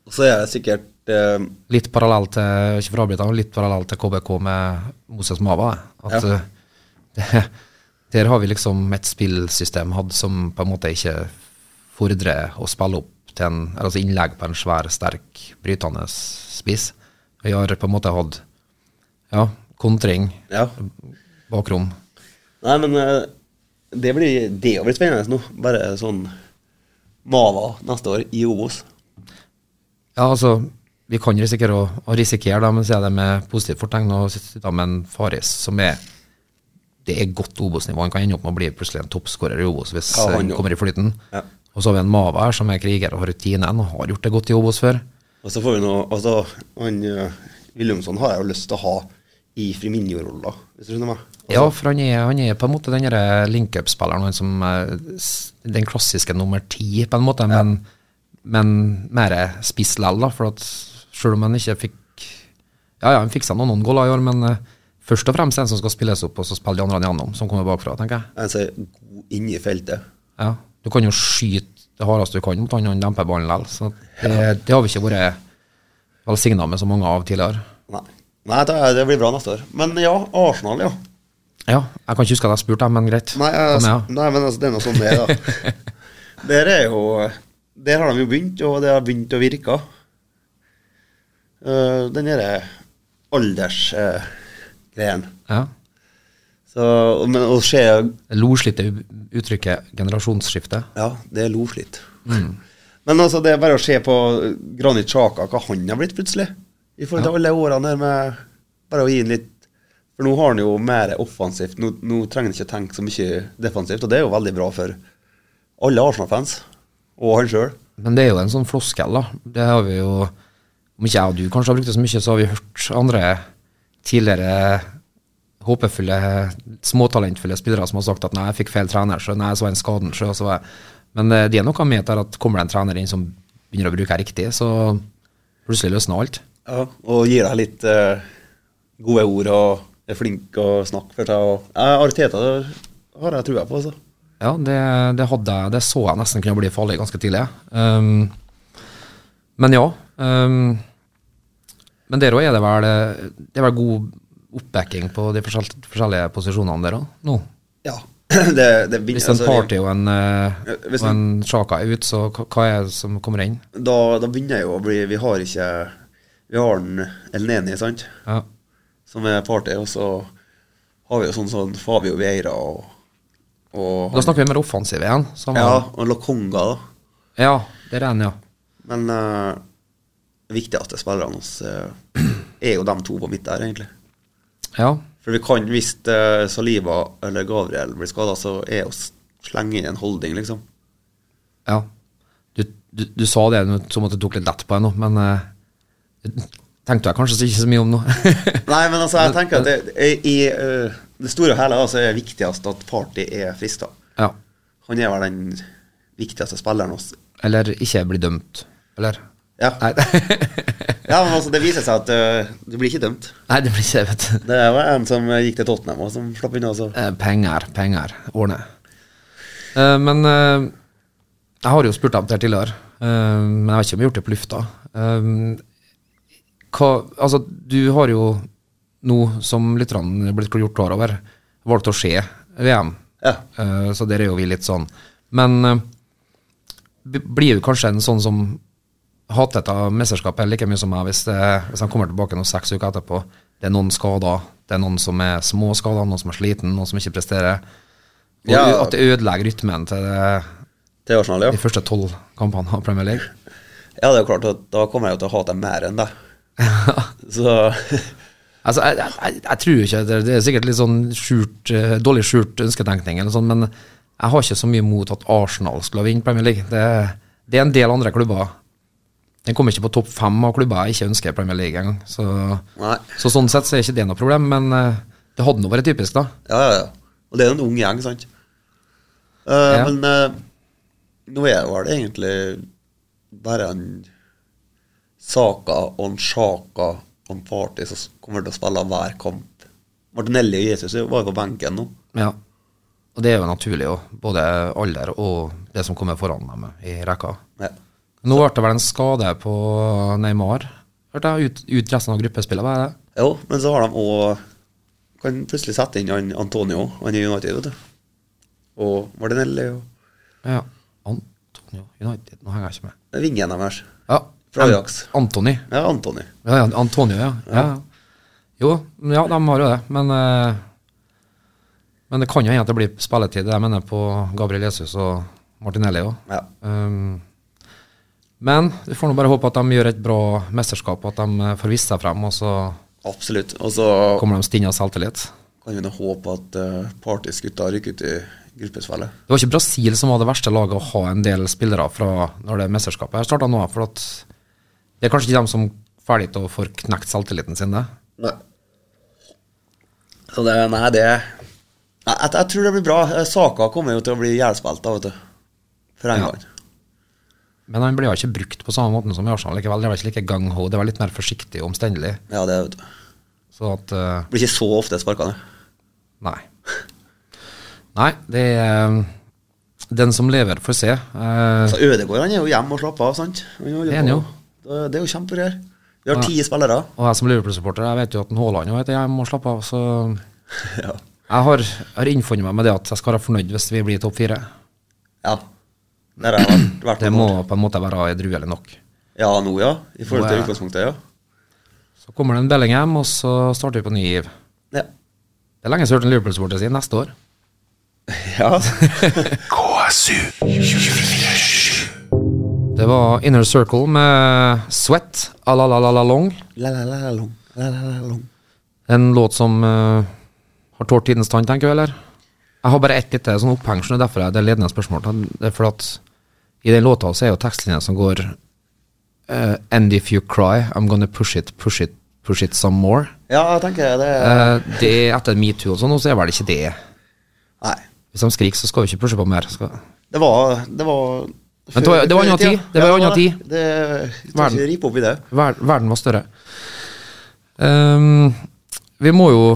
[SPEAKER 5] Og så er det sikkert eh,
[SPEAKER 3] Litt parallell til ikke for å avbryte, men litt parallell til KBK med Moses Mava. At
[SPEAKER 5] Ja.
[SPEAKER 3] eh, det, Der har vi liksom et spillsystem hatt som på en måte ikke fordrer å spille opp til en, altså innlegg på en svær, sterk, brytende spiss. Vi har på en måte hatt ja, kontring,
[SPEAKER 5] Ja.
[SPEAKER 3] bakrom.
[SPEAKER 5] Nei, men eh, det blir, det blir spennende nå. Bare sånn Mava neste år i Obos.
[SPEAKER 3] Ja, altså, vi kan risikere å, å risikere, da, men så er det med positivt fortegn og sitte med en Faris som er Det er godt Obos-nivå. Han kan ende opp med å bli plutselig en toppskårer i Obos hvis
[SPEAKER 5] Ja,
[SPEAKER 3] eh,
[SPEAKER 5] han
[SPEAKER 3] han
[SPEAKER 5] jo.
[SPEAKER 3] kommer i flyten.
[SPEAKER 5] Ja.
[SPEAKER 3] Og så har vi en Mava her som er kriger og har rutinen og har gjort det godt i Obos før.
[SPEAKER 5] Og så får vi noe Altså, han eh, Wilhelmsson har jeg jo lyst til å ha i Friminio-rolla, hvis du skjønner meg.
[SPEAKER 3] Ja, for han er, han er på en måte den derre link-up-spilleren, han som eh, s- Den klassiske nummer ti, på en måte, men, men mer spiss lell, da. For at selv om han ikke fikk Ja, ja, han fiksa noen, noen goller i år, men eh, først og fremst en som skal spilles opp, og så spiller de andre igjennom, som kommer bakfra, tenker jeg.
[SPEAKER 5] En som er god inne i feltet.
[SPEAKER 3] Ja. Du kan jo skyte det hardeste du kan mot han, han demper ballen lell. Så det, det har vi ikke vært velsigna med så mange av tidligere.
[SPEAKER 5] Nei. Nei, det, det blir bra neste år. Men ja, Arsenal, ja.
[SPEAKER 3] Ja, jeg kan ikke huske at jeg spurte, men greit.
[SPEAKER 5] Nei,
[SPEAKER 3] Kom
[SPEAKER 5] altså,
[SPEAKER 3] med, ja.
[SPEAKER 5] nei men altså, det er noe sånn det er, da. Der er jo Der har de jo begynt, og det har begynt å virke. Eh, den derre eh, aldersgreien.
[SPEAKER 3] Ja.
[SPEAKER 5] Så, men å se
[SPEAKER 3] Loslitt er uttrykket generasjonsskifte.
[SPEAKER 5] Ja, det er lovslitt. Men altså, det er bare å se på Granit Xhaka, hva han har blitt plutselig. I forhold til alle årene her med Bare å gi han litt For nå har han jo mer offensivt. Nå, nå trenger han ikke å tenke så mye defensivt, og det er jo veldig bra for alle Arsenal-fans. Og han sjøl.
[SPEAKER 3] Men det er jo en sånn floskel, da. Det har vi jo Om ikke jeg og du kanskje har brukt det så mye, så har vi hørt andre tidligere håpefulle, småtalentfulle spillere som har sagt at nei, jeg fikk feil trener, så nei, så var den skaden, så, så var jeg Men eh, det er noe med der at kommer det en trener inn som begynner å bruke det riktig, så plutselig løsner alt.
[SPEAKER 5] Ja, og gir deg litt eh, gode ord og er flink å snakke for seg. Og, ja, Arteta det har jeg trua på, altså.
[SPEAKER 3] Ja, det, det hadde jeg, det så jeg nesten kunne bli farlig ganske tidlig. Um, men ja. Um, men der òg er det vel Det er vel god oppbacking på de forskjell- forskjellige posisjonene der òg, nå.
[SPEAKER 5] Ja. Det, det,
[SPEAKER 3] Hvis en
[SPEAKER 5] altså,
[SPEAKER 3] Party og en, eh,
[SPEAKER 5] Hvis
[SPEAKER 3] og en Sjaka er ute, så hva- hva er det som kommer inn?
[SPEAKER 5] da, da begynner jeg jo å bli Vi har ikke Vi har den El Neni, sant,
[SPEAKER 3] Ja.
[SPEAKER 5] som er party, og så har vi jo sånn sånn Fabio Vieira og, og
[SPEAKER 3] Da snakker vi mer offensiv igjen. Samme.
[SPEAKER 5] Ja, og Lokonga, da.
[SPEAKER 3] ja, der er en, ja.
[SPEAKER 5] Men eh, det viktigste spillerne hans eh, er jo de to på midt der, egentlig.
[SPEAKER 3] ja.
[SPEAKER 5] For vi kan, hvis eh, Saliba eller Gabriel blir skada, så er å s- slenge inn en holding, liksom.
[SPEAKER 3] Ja. Du, du, du sa det nå som at du tok litt lett på det nå, men eh, det tenkte jeg kanskje ikke så mye om nå.
[SPEAKER 5] Nei, men altså, jeg tenker at det, i, i eh, det store og hele da, så er det viktigst at Party er frista.
[SPEAKER 3] ja.
[SPEAKER 5] Han er vel den viktigste spilleren hos
[SPEAKER 3] Eller ikke bli dømt. Eller?
[SPEAKER 5] Ja.
[SPEAKER 3] Nei,
[SPEAKER 5] ja, men altså, det viser seg at øh, du blir ikke dømt.
[SPEAKER 3] Nei det blir ikke det, vet du.
[SPEAKER 5] Det var en som gikk til Tottenham og som slapp unna. Så.
[SPEAKER 3] Eh, Penger, penger. Ordne. Eh, men eh, jeg har jo spurt deg om det her tidligere, eh, men jeg vet ikke om jeg har gjort det på lufta. Eh, hva, altså, du har jo nå, som lytterne er blitt gjort klar over, valgt å se VM.
[SPEAKER 5] Ja.
[SPEAKER 3] Eh, så der er jo vi litt sånn. Men eh, b- blir jo kanskje en sånn som hater dette mesterskapet like mye som meg hvis, det, hvis han kommer tilbake nå seks uker etterpå. Det er noen skader, det er noen som er små skader, noen som er sliten, noen som ikke presterer. Og
[SPEAKER 5] Ja.
[SPEAKER 3] At det ødelegger rytmen til det,
[SPEAKER 5] Til Arsenal, ja.
[SPEAKER 3] de første tolv kampene av Premier League.
[SPEAKER 5] Ja, det er jo klart at da kommer jeg jo til å hate dem mer enn deg. Så
[SPEAKER 3] Altså, jeg, jeg- jeg, jeg tror ikke det, det er sikkert litt sånn skjult, eh, dårlig skjult ønsketenkning, eller sånn, men jeg har ikke så mye mot at Arsenal skulle vinne Premier League. Det, det er en del andre klubber. Den kommer ikke på topp fem av klubber jeg ikke ønsker i Premier League engang. Så,
[SPEAKER 5] Nei.
[SPEAKER 3] så sånn sett så er ikke det noe problem, men eh, det hadde nå vært typisk, da.
[SPEAKER 5] Ja, ja, ja. Og det er jo en ung gjeng, sant. Eh,
[SPEAKER 3] Ja.
[SPEAKER 5] Men eh, nå er det vel egentlig bare en Saka og en Sjaka og en Party som kommer til å spille hver kamp. Martinelli og Jesus var jo på benken nå.
[SPEAKER 3] Ja. Og det er jo naturlig, jo. Både alder og det som kommer foran dem i rekka.
[SPEAKER 5] Ja.
[SPEAKER 3] Nå ble det vel en skade på Neymar. Hørte jeg ut, ut resten av gruppespillet, hva er det?
[SPEAKER 5] Jo, men så har de òg Kan plutselig sette inn han Antonio, han i United, vet du. Og Martinelli og
[SPEAKER 3] Ja. Antonio United, nå henger jeg ikke med.
[SPEAKER 5] vingen deres.
[SPEAKER 3] Ja.
[SPEAKER 5] Fra Ajax.
[SPEAKER 3] An- Antony.
[SPEAKER 5] Ja, Antony.
[SPEAKER 3] Ja, ja, Antonio, ja. ja. ja. Jo, ja, de har jo det, men eh, Men det kan jo hende at det blir spilletid, jeg mener, på Gabriel Jesus og Martinelli òg.
[SPEAKER 5] Ja.
[SPEAKER 3] men vi får nå bare håpe at de gjør et bra mesterskap, at de eh, får vist seg frem, og så
[SPEAKER 5] Absolutt. Og så
[SPEAKER 3] kommer de stinne av selvtillit.
[SPEAKER 5] kan vi nå håpe at uh, Partys gutter rykker ut i gruppespillet.
[SPEAKER 3] Det var ikke Brasil som var det verste laget å ha en del spillere fra når det er mesterskapet. Jeg starta nå, for at det er kanskje ikke dem som ferdig til å få knekt selvtilliten sin, det.
[SPEAKER 5] Nei. Så det Nei, det Nei, jeg, jeg tror det blir bra. Eh, Saka kommer jo til å bli jævlspilt, da, vet du. For en
[SPEAKER 3] Ja.
[SPEAKER 5] gang.
[SPEAKER 3] Men han ble jo ikke brukt på samme måten som i Arsenal likevel. Det var ikke like gang-ho, det var litt mer forsiktig og omstendelig.
[SPEAKER 5] Ja, det vet du.
[SPEAKER 3] Så at eh,
[SPEAKER 5] Blir ikke så ofte sparka ned.
[SPEAKER 3] Nei. Nei, det er eh, Den som lever, får se. Eh,
[SPEAKER 5] Så Ødegaard han Altså, er jo hjemme og slapper av, sant? Han holder
[SPEAKER 3] Det er han
[SPEAKER 5] på.
[SPEAKER 3] jo.
[SPEAKER 5] Det det er jo kjempegreier. Vi har ti spillere.
[SPEAKER 3] og jeg som Liverpool-supporter, jeg vet jo at en Haaland jo heter jeg må slappe av, så
[SPEAKER 5] ja.
[SPEAKER 3] jeg har, har innfunnet meg med det at jeg skal være fornøyd hvis vi blir topp fire.
[SPEAKER 5] ja. Der har jeg vært, vært
[SPEAKER 3] Det
[SPEAKER 5] noen
[SPEAKER 3] må
[SPEAKER 5] år.
[SPEAKER 3] på en måte være edruelig nok.
[SPEAKER 5] Ja, nå, ja. I forhold
[SPEAKER 3] Nå
[SPEAKER 5] til
[SPEAKER 3] er-
[SPEAKER 5] utgangspunktet, ja.
[SPEAKER 3] Så kommer det en Bellingham, og så starter vi på ny giv.
[SPEAKER 5] ja.
[SPEAKER 3] Det er lenge siden jeg har hørt en Liverpool-supporter si neste år.
[SPEAKER 5] Ja.
[SPEAKER 4] KSU.
[SPEAKER 3] Det var Inner Circle med Sweat, Alalalalong.
[SPEAKER 5] La-la-la-long, la-la-la-long.
[SPEAKER 3] En låt som eh, har tålt tidens tann, tenker jeg, eller? Jeg har bare ett lite sånn oppheng, så det er derfor jeg- det er ledende spørsmål. Det er fordi at i den låta så er jo tekstlinja som går eh, And if you cry, I'm gonna push it, push it, push it some more.
[SPEAKER 5] Ja, jeg tenker det
[SPEAKER 3] Eh, det er etter metoo og sånn, og så er vel ikke det
[SPEAKER 5] Nei.
[SPEAKER 3] Hvis de skriker, så skal vi ikke pushe på mer. Skal...
[SPEAKER 5] Det var Det var
[SPEAKER 3] Men det var- det var en annen tid. Det var en annen tid.
[SPEAKER 5] Det, det,
[SPEAKER 3] Verden.
[SPEAKER 5] det Rip opp i det.
[SPEAKER 3] Ver verden var større. Ehm, vi må jo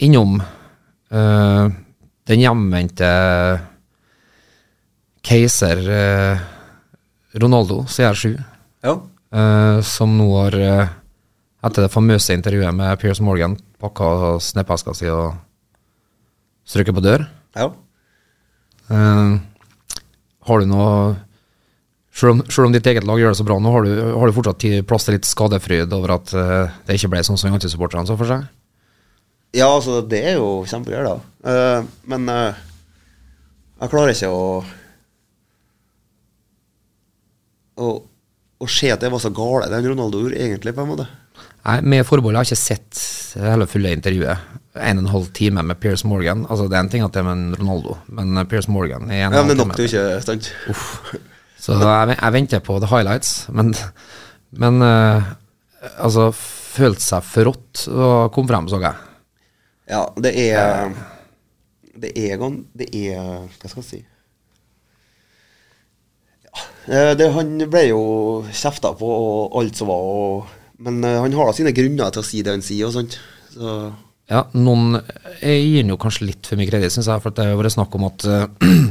[SPEAKER 3] innom eh, den hjemvendte keiser eh, Ronaldo, CR7,
[SPEAKER 5] Ja.
[SPEAKER 3] eh, som nå har, eh, etter det famøse intervjuet med Piers Morgan, pakka sneppeska si og strøket på dør.
[SPEAKER 5] ja.
[SPEAKER 3] Eh, har du noe selv om, selv om ditt eget lag gjør det så bra nå, har du, har du fortsatt tid- plass til litt skadefryd over at eh, det ikke ble sånn som United-supporterne så for seg?
[SPEAKER 5] Ja, altså, det er jo kjempegreier, da. Eh, men eh, jeg klarer ikke å Å, å se at det var så gale, den Ronaldo gjorde, egentlig, på en måte.
[SPEAKER 3] Nei, med forbehold, jeg har ikke sett hele fulle intervjuet. En og en halv time med Piers Morgan. Altså, det er en ting at det er med en Ronaldo, men eh, Piers Morgan i en
[SPEAKER 5] Ja,
[SPEAKER 3] og
[SPEAKER 5] men
[SPEAKER 3] en halv
[SPEAKER 5] det nok til
[SPEAKER 3] time.
[SPEAKER 5] ikke stand.
[SPEAKER 3] Så jeg, jeg venter på the highlights, men, men eh, altså, følte seg forrådt og kom frem, så jeg.
[SPEAKER 5] Ja, det er Det er gan- Det er Hva skal jeg si? Ja, eh, det, han ble jo kjefta på og alt som var, og, men eh, han har da sine grunner til å si det han sier og sånt. Så
[SPEAKER 3] Ja, noen Jeg gir han jo kanskje litt for mye kreditt, syns jeg. For at det har jo vært snakk om at eh,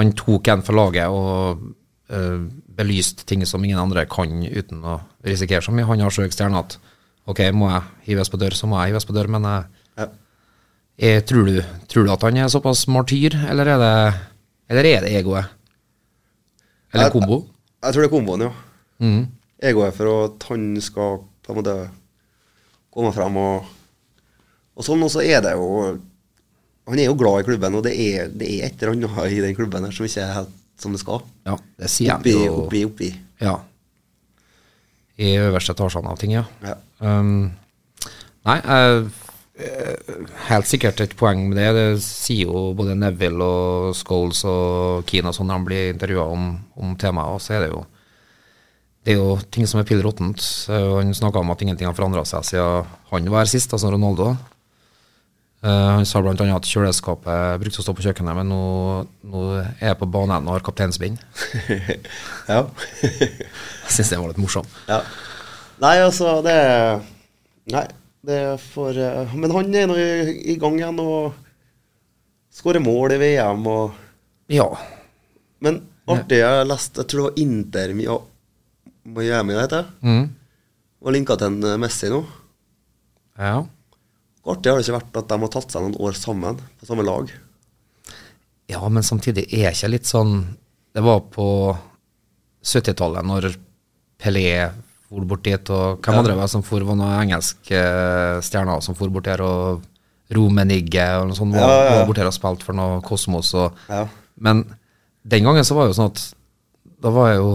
[SPEAKER 3] han tok en for laget og uh, belyste ting som ingen andre kan uten å risikere så mye. Han har så høy stjerne at OK, må jeg hives på dør, så må jeg hives på dør. Men jeg,
[SPEAKER 5] ja.
[SPEAKER 3] jeg, tror, du, tror du at han er såpass martyr, eller er det, eller er det egoet? Eller
[SPEAKER 5] Jeg-
[SPEAKER 3] kombo?
[SPEAKER 5] Jeg tror det er komboen, ja.
[SPEAKER 3] Mm.
[SPEAKER 5] Egoet for at han skal på en måte komme frem og Og sånn, og så er det jo Han er jo glad i klubben, og det er, det er et eller annet i den klubben her som ikke er helt som det skal.
[SPEAKER 3] Ja, det sier han
[SPEAKER 5] Oppi,
[SPEAKER 3] jo.
[SPEAKER 5] oppi, oppi.
[SPEAKER 3] Ja. I øverste etasjene av ting, ja.
[SPEAKER 5] Ja.
[SPEAKER 3] Um, nei, jeg eh, helt sikkert et poeng med det. Det sier jo både Neville og Scholes og Keane og sånn når de blir intervjua om, om temaet, og så er det jo det er jo ting som er pill råttent. Eh, Han snakka om at ingenting har forandra seg siden han var her sist, altså Ronaldo. Eh, han sa bl.a. at kjøleskapet brukte å stå på kjøkkenet, men nå, nå er jeg på banen og har kapteinsbind.
[SPEAKER 5] ja.
[SPEAKER 3] Jeg syns det var litt morsomt.
[SPEAKER 5] ja. Nei, altså, det Nei, det får eh, Men han er nå i, i gang igjen og skårer mål i VM og
[SPEAKER 3] Ja.
[SPEAKER 5] Men artig, jeg leste Jeg tror det var Inter Mia- Miami, det heter.
[SPEAKER 3] Mm.
[SPEAKER 5] Var linka til en eh, Messi nå.
[SPEAKER 3] ja.
[SPEAKER 5] Artig har det ikke vært at de har tatt seg noen år sammen, på samme lag.
[SPEAKER 3] Ja, men samtidig er ikke litt sånn Det var på 70-tallet, når Pelé for bort dit, og hvem andre var det som for, var noen engelske eh, stjerner som for bort der, og Romenigge og noe sånt, var,
[SPEAKER 5] Ja, ja, ja.
[SPEAKER 3] var bort her og spilte for noe Kosmos og
[SPEAKER 5] Ja.
[SPEAKER 3] Men den gangen så var det jo sånn at da var jo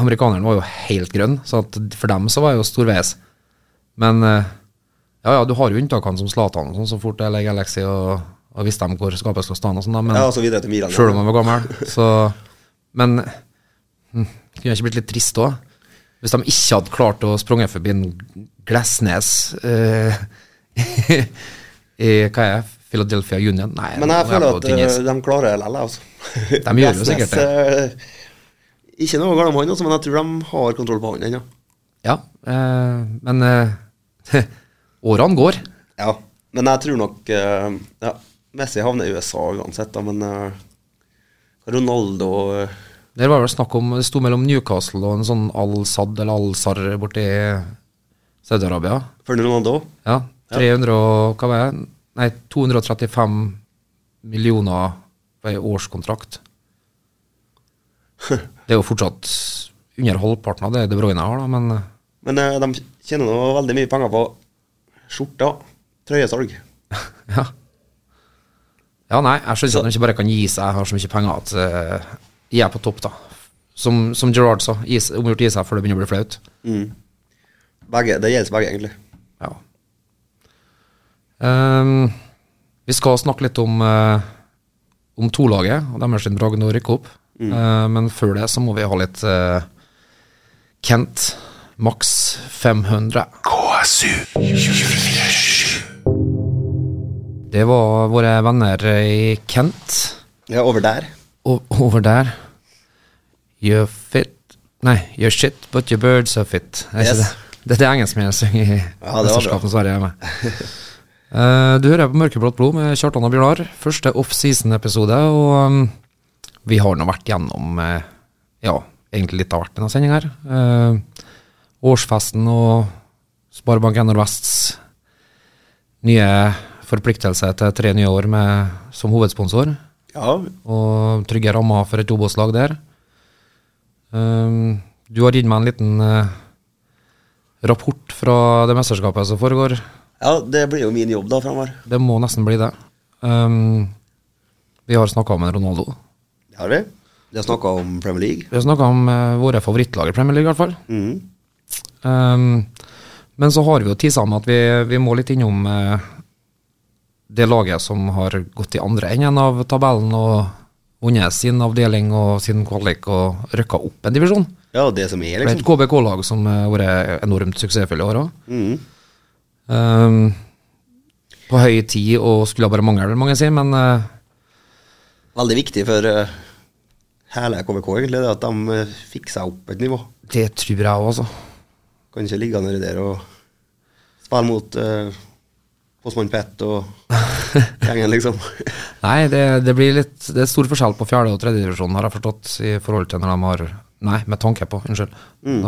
[SPEAKER 3] Amerikaneren var jo helt grønn, så at for dem så var jeg jo storveis. Men eh, ja, ja, du har jo unntakene som Zlatan og sånn, så fort det er Galaxy og, og visste dem hvor skapet skal stå og sånn, da, men
[SPEAKER 5] Ja, og så altså videre til Milan.
[SPEAKER 3] sjøl om han var gammel, så Men hm, kunne jeg ikke blitt litt trist òg? Hvis de ikke hadde klart å sprunge forbi en Glesnes eh, i hva er det? Philadelphia Union? Nei,
[SPEAKER 5] Men
[SPEAKER 3] nå er
[SPEAKER 5] jeg føler
[SPEAKER 3] på
[SPEAKER 5] at
[SPEAKER 3] tynn is.
[SPEAKER 5] eh, de klarer det likevel, altså.
[SPEAKER 3] De gjør jo sikkert
[SPEAKER 5] det. Ikke noe galt om han, altså, men jeg tror de har kontroll på han ennå.
[SPEAKER 3] Ja, eh, men eh, årene går.
[SPEAKER 5] Ja, men jeg tror nok eh, ja, Messi havner i USA uansett, da, men eh, Ronaldo eh,
[SPEAKER 3] Der var vel snakk om Det sto mellom Newcastle og en sånn Al-Sad eller Al-Sar borti Saudi-Arabia.
[SPEAKER 5] Før Ronaldo
[SPEAKER 3] Ja, 300 og hva var det? Nei, 235 millioner på ei årskontrakt. Det er jo fortsatt under halvparten av det De Bruyne har, da, men
[SPEAKER 5] Men eh, de tjener nå veldig mye penger på skjorta. Trøyesalg.
[SPEAKER 3] Ja. ja, nei, jeg skjønner at han ikke bare kan gi seg. Jeg har så mye penger at eh, jeg er på topp, da. Som, som Gerard sa, gi seg- omgjort gi seg før det begynner å bli flaut.
[SPEAKER 5] Begge, det gjelder begge, egentlig.
[SPEAKER 3] Ja. Ehm, vi skal snakke litt om, eh, om to-laget og deres sin bragd nå å rykke opp. Eh, men før det så må vi ha litt eh, Kent Max 500.
[SPEAKER 4] KSU.
[SPEAKER 3] Det var våre venner i Kent.
[SPEAKER 5] Ja, over der.
[SPEAKER 3] o- over der You fit Nei, you shit, but your birds are fit. Er ikke
[SPEAKER 5] Yes.
[SPEAKER 3] det? Dette er engelskmennene synger i
[SPEAKER 5] bra.
[SPEAKER 3] mesterskapet Sverige er med. Eh, du hører på Mørkeblått blod med Kjartan og Bjørnar. Første offseason-episode, og um, vi har nå vært gjennom eh, ja, egentlig litt av hvert i denne sendinga her. Eh, årsfesten og Sparebank1 Nordvests nye forpliktelse til tre nye år med, som hovedsponsor
[SPEAKER 5] Ja,
[SPEAKER 3] og trygge rammer for et Obos-lag der. Ehm, du har gitt meg en liten eh, rapport fra det mesterskapet som foregår.
[SPEAKER 5] ja det blir jo min jobb da framover.
[SPEAKER 3] Det må nesten bli det. Ehm, vi har snakka om en Ronaldo.
[SPEAKER 5] Har vi? Vi har snakka om Premier League.
[SPEAKER 3] Vi har snakka om eh, våre favorittlag i Premier League, i hvert fall.
[SPEAKER 5] Mhm.
[SPEAKER 3] Ehm, men så har vi jo tisa med at vi, vi må litt innom eh, det laget som har gått i andre enden av tabellen og vunnet sin avdeling og sin kvalik og rykka opp en divisjon.
[SPEAKER 5] Ja, det som er,
[SPEAKER 3] Det er et
[SPEAKER 5] liksom.
[SPEAKER 3] KBK-lag som har vært enormt suksessfulle i år òg.
[SPEAKER 5] Mhm.
[SPEAKER 3] på høy tid og skulle bare mangle, vil mange si, men eh,
[SPEAKER 5] Veldig viktig for eh, hele KVK, egentlig, det at de eh, fikk seg opp et nivå.
[SPEAKER 3] det tror jeg òg, altså.
[SPEAKER 5] Kan ikke ligge nedi der og spille mot uh, Postmann Pett og gjengen, liksom.
[SPEAKER 3] Nei, det, det blir litt Det er stor forskjell på fjerde- og tredjedivisjonen, har jeg forstått, i forhold til når de har Nei, med tanke på, unnskyld.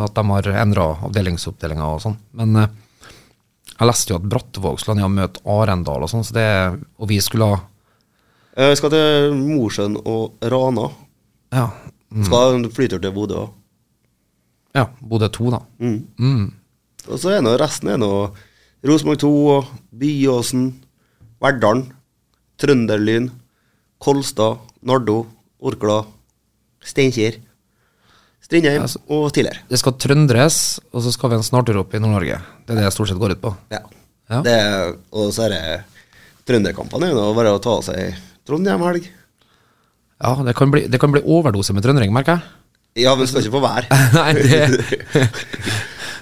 [SPEAKER 3] At de har endra avdelingsoppdelinga og sånn. Men eh, jeg leste jo at Brattvåg skulle ned og møte Arendal og sånn, så det Og vi skulle ha
[SPEAKER 5] Eh, skal til Mosjøen og Rana.
[SPEAKER 3] Ja.
[SPEAKER 5] Skal ha en flytur til Bodø òg.
[SPEAKER 3] ja Bodø 2, da. Mm.
[SPEAKER 5] Og så er nå resten er nå Rosenborg 2 og Byåsen, Verdalen, Trønderlyn, Kolstad, Nardo, Orkla, Steinkjer, Strindheim
[SPEAKER 3] Altså-
[SPEAKER 5] og tidligere.
[SPEAKER 3] Det skal trøndres, og så skal vi en snartur opp i Nord-Norge. Det er det jeg stort sett går ut på.
[SPEAKER 5] Ja.
[SPEAKER 3] Ja.
[SPEAKER 5] Det, er- og så er det trønderkampene. Det er jo bare å ta av seg Trondheim-helg.
[SPEAKER 3] Ja, det kan bli, det kan bli overdose med trøndering, merker jeg.
[SPEAKER 5] Ja, men skal ikke få være.
[SPEAKER 3] Nei, det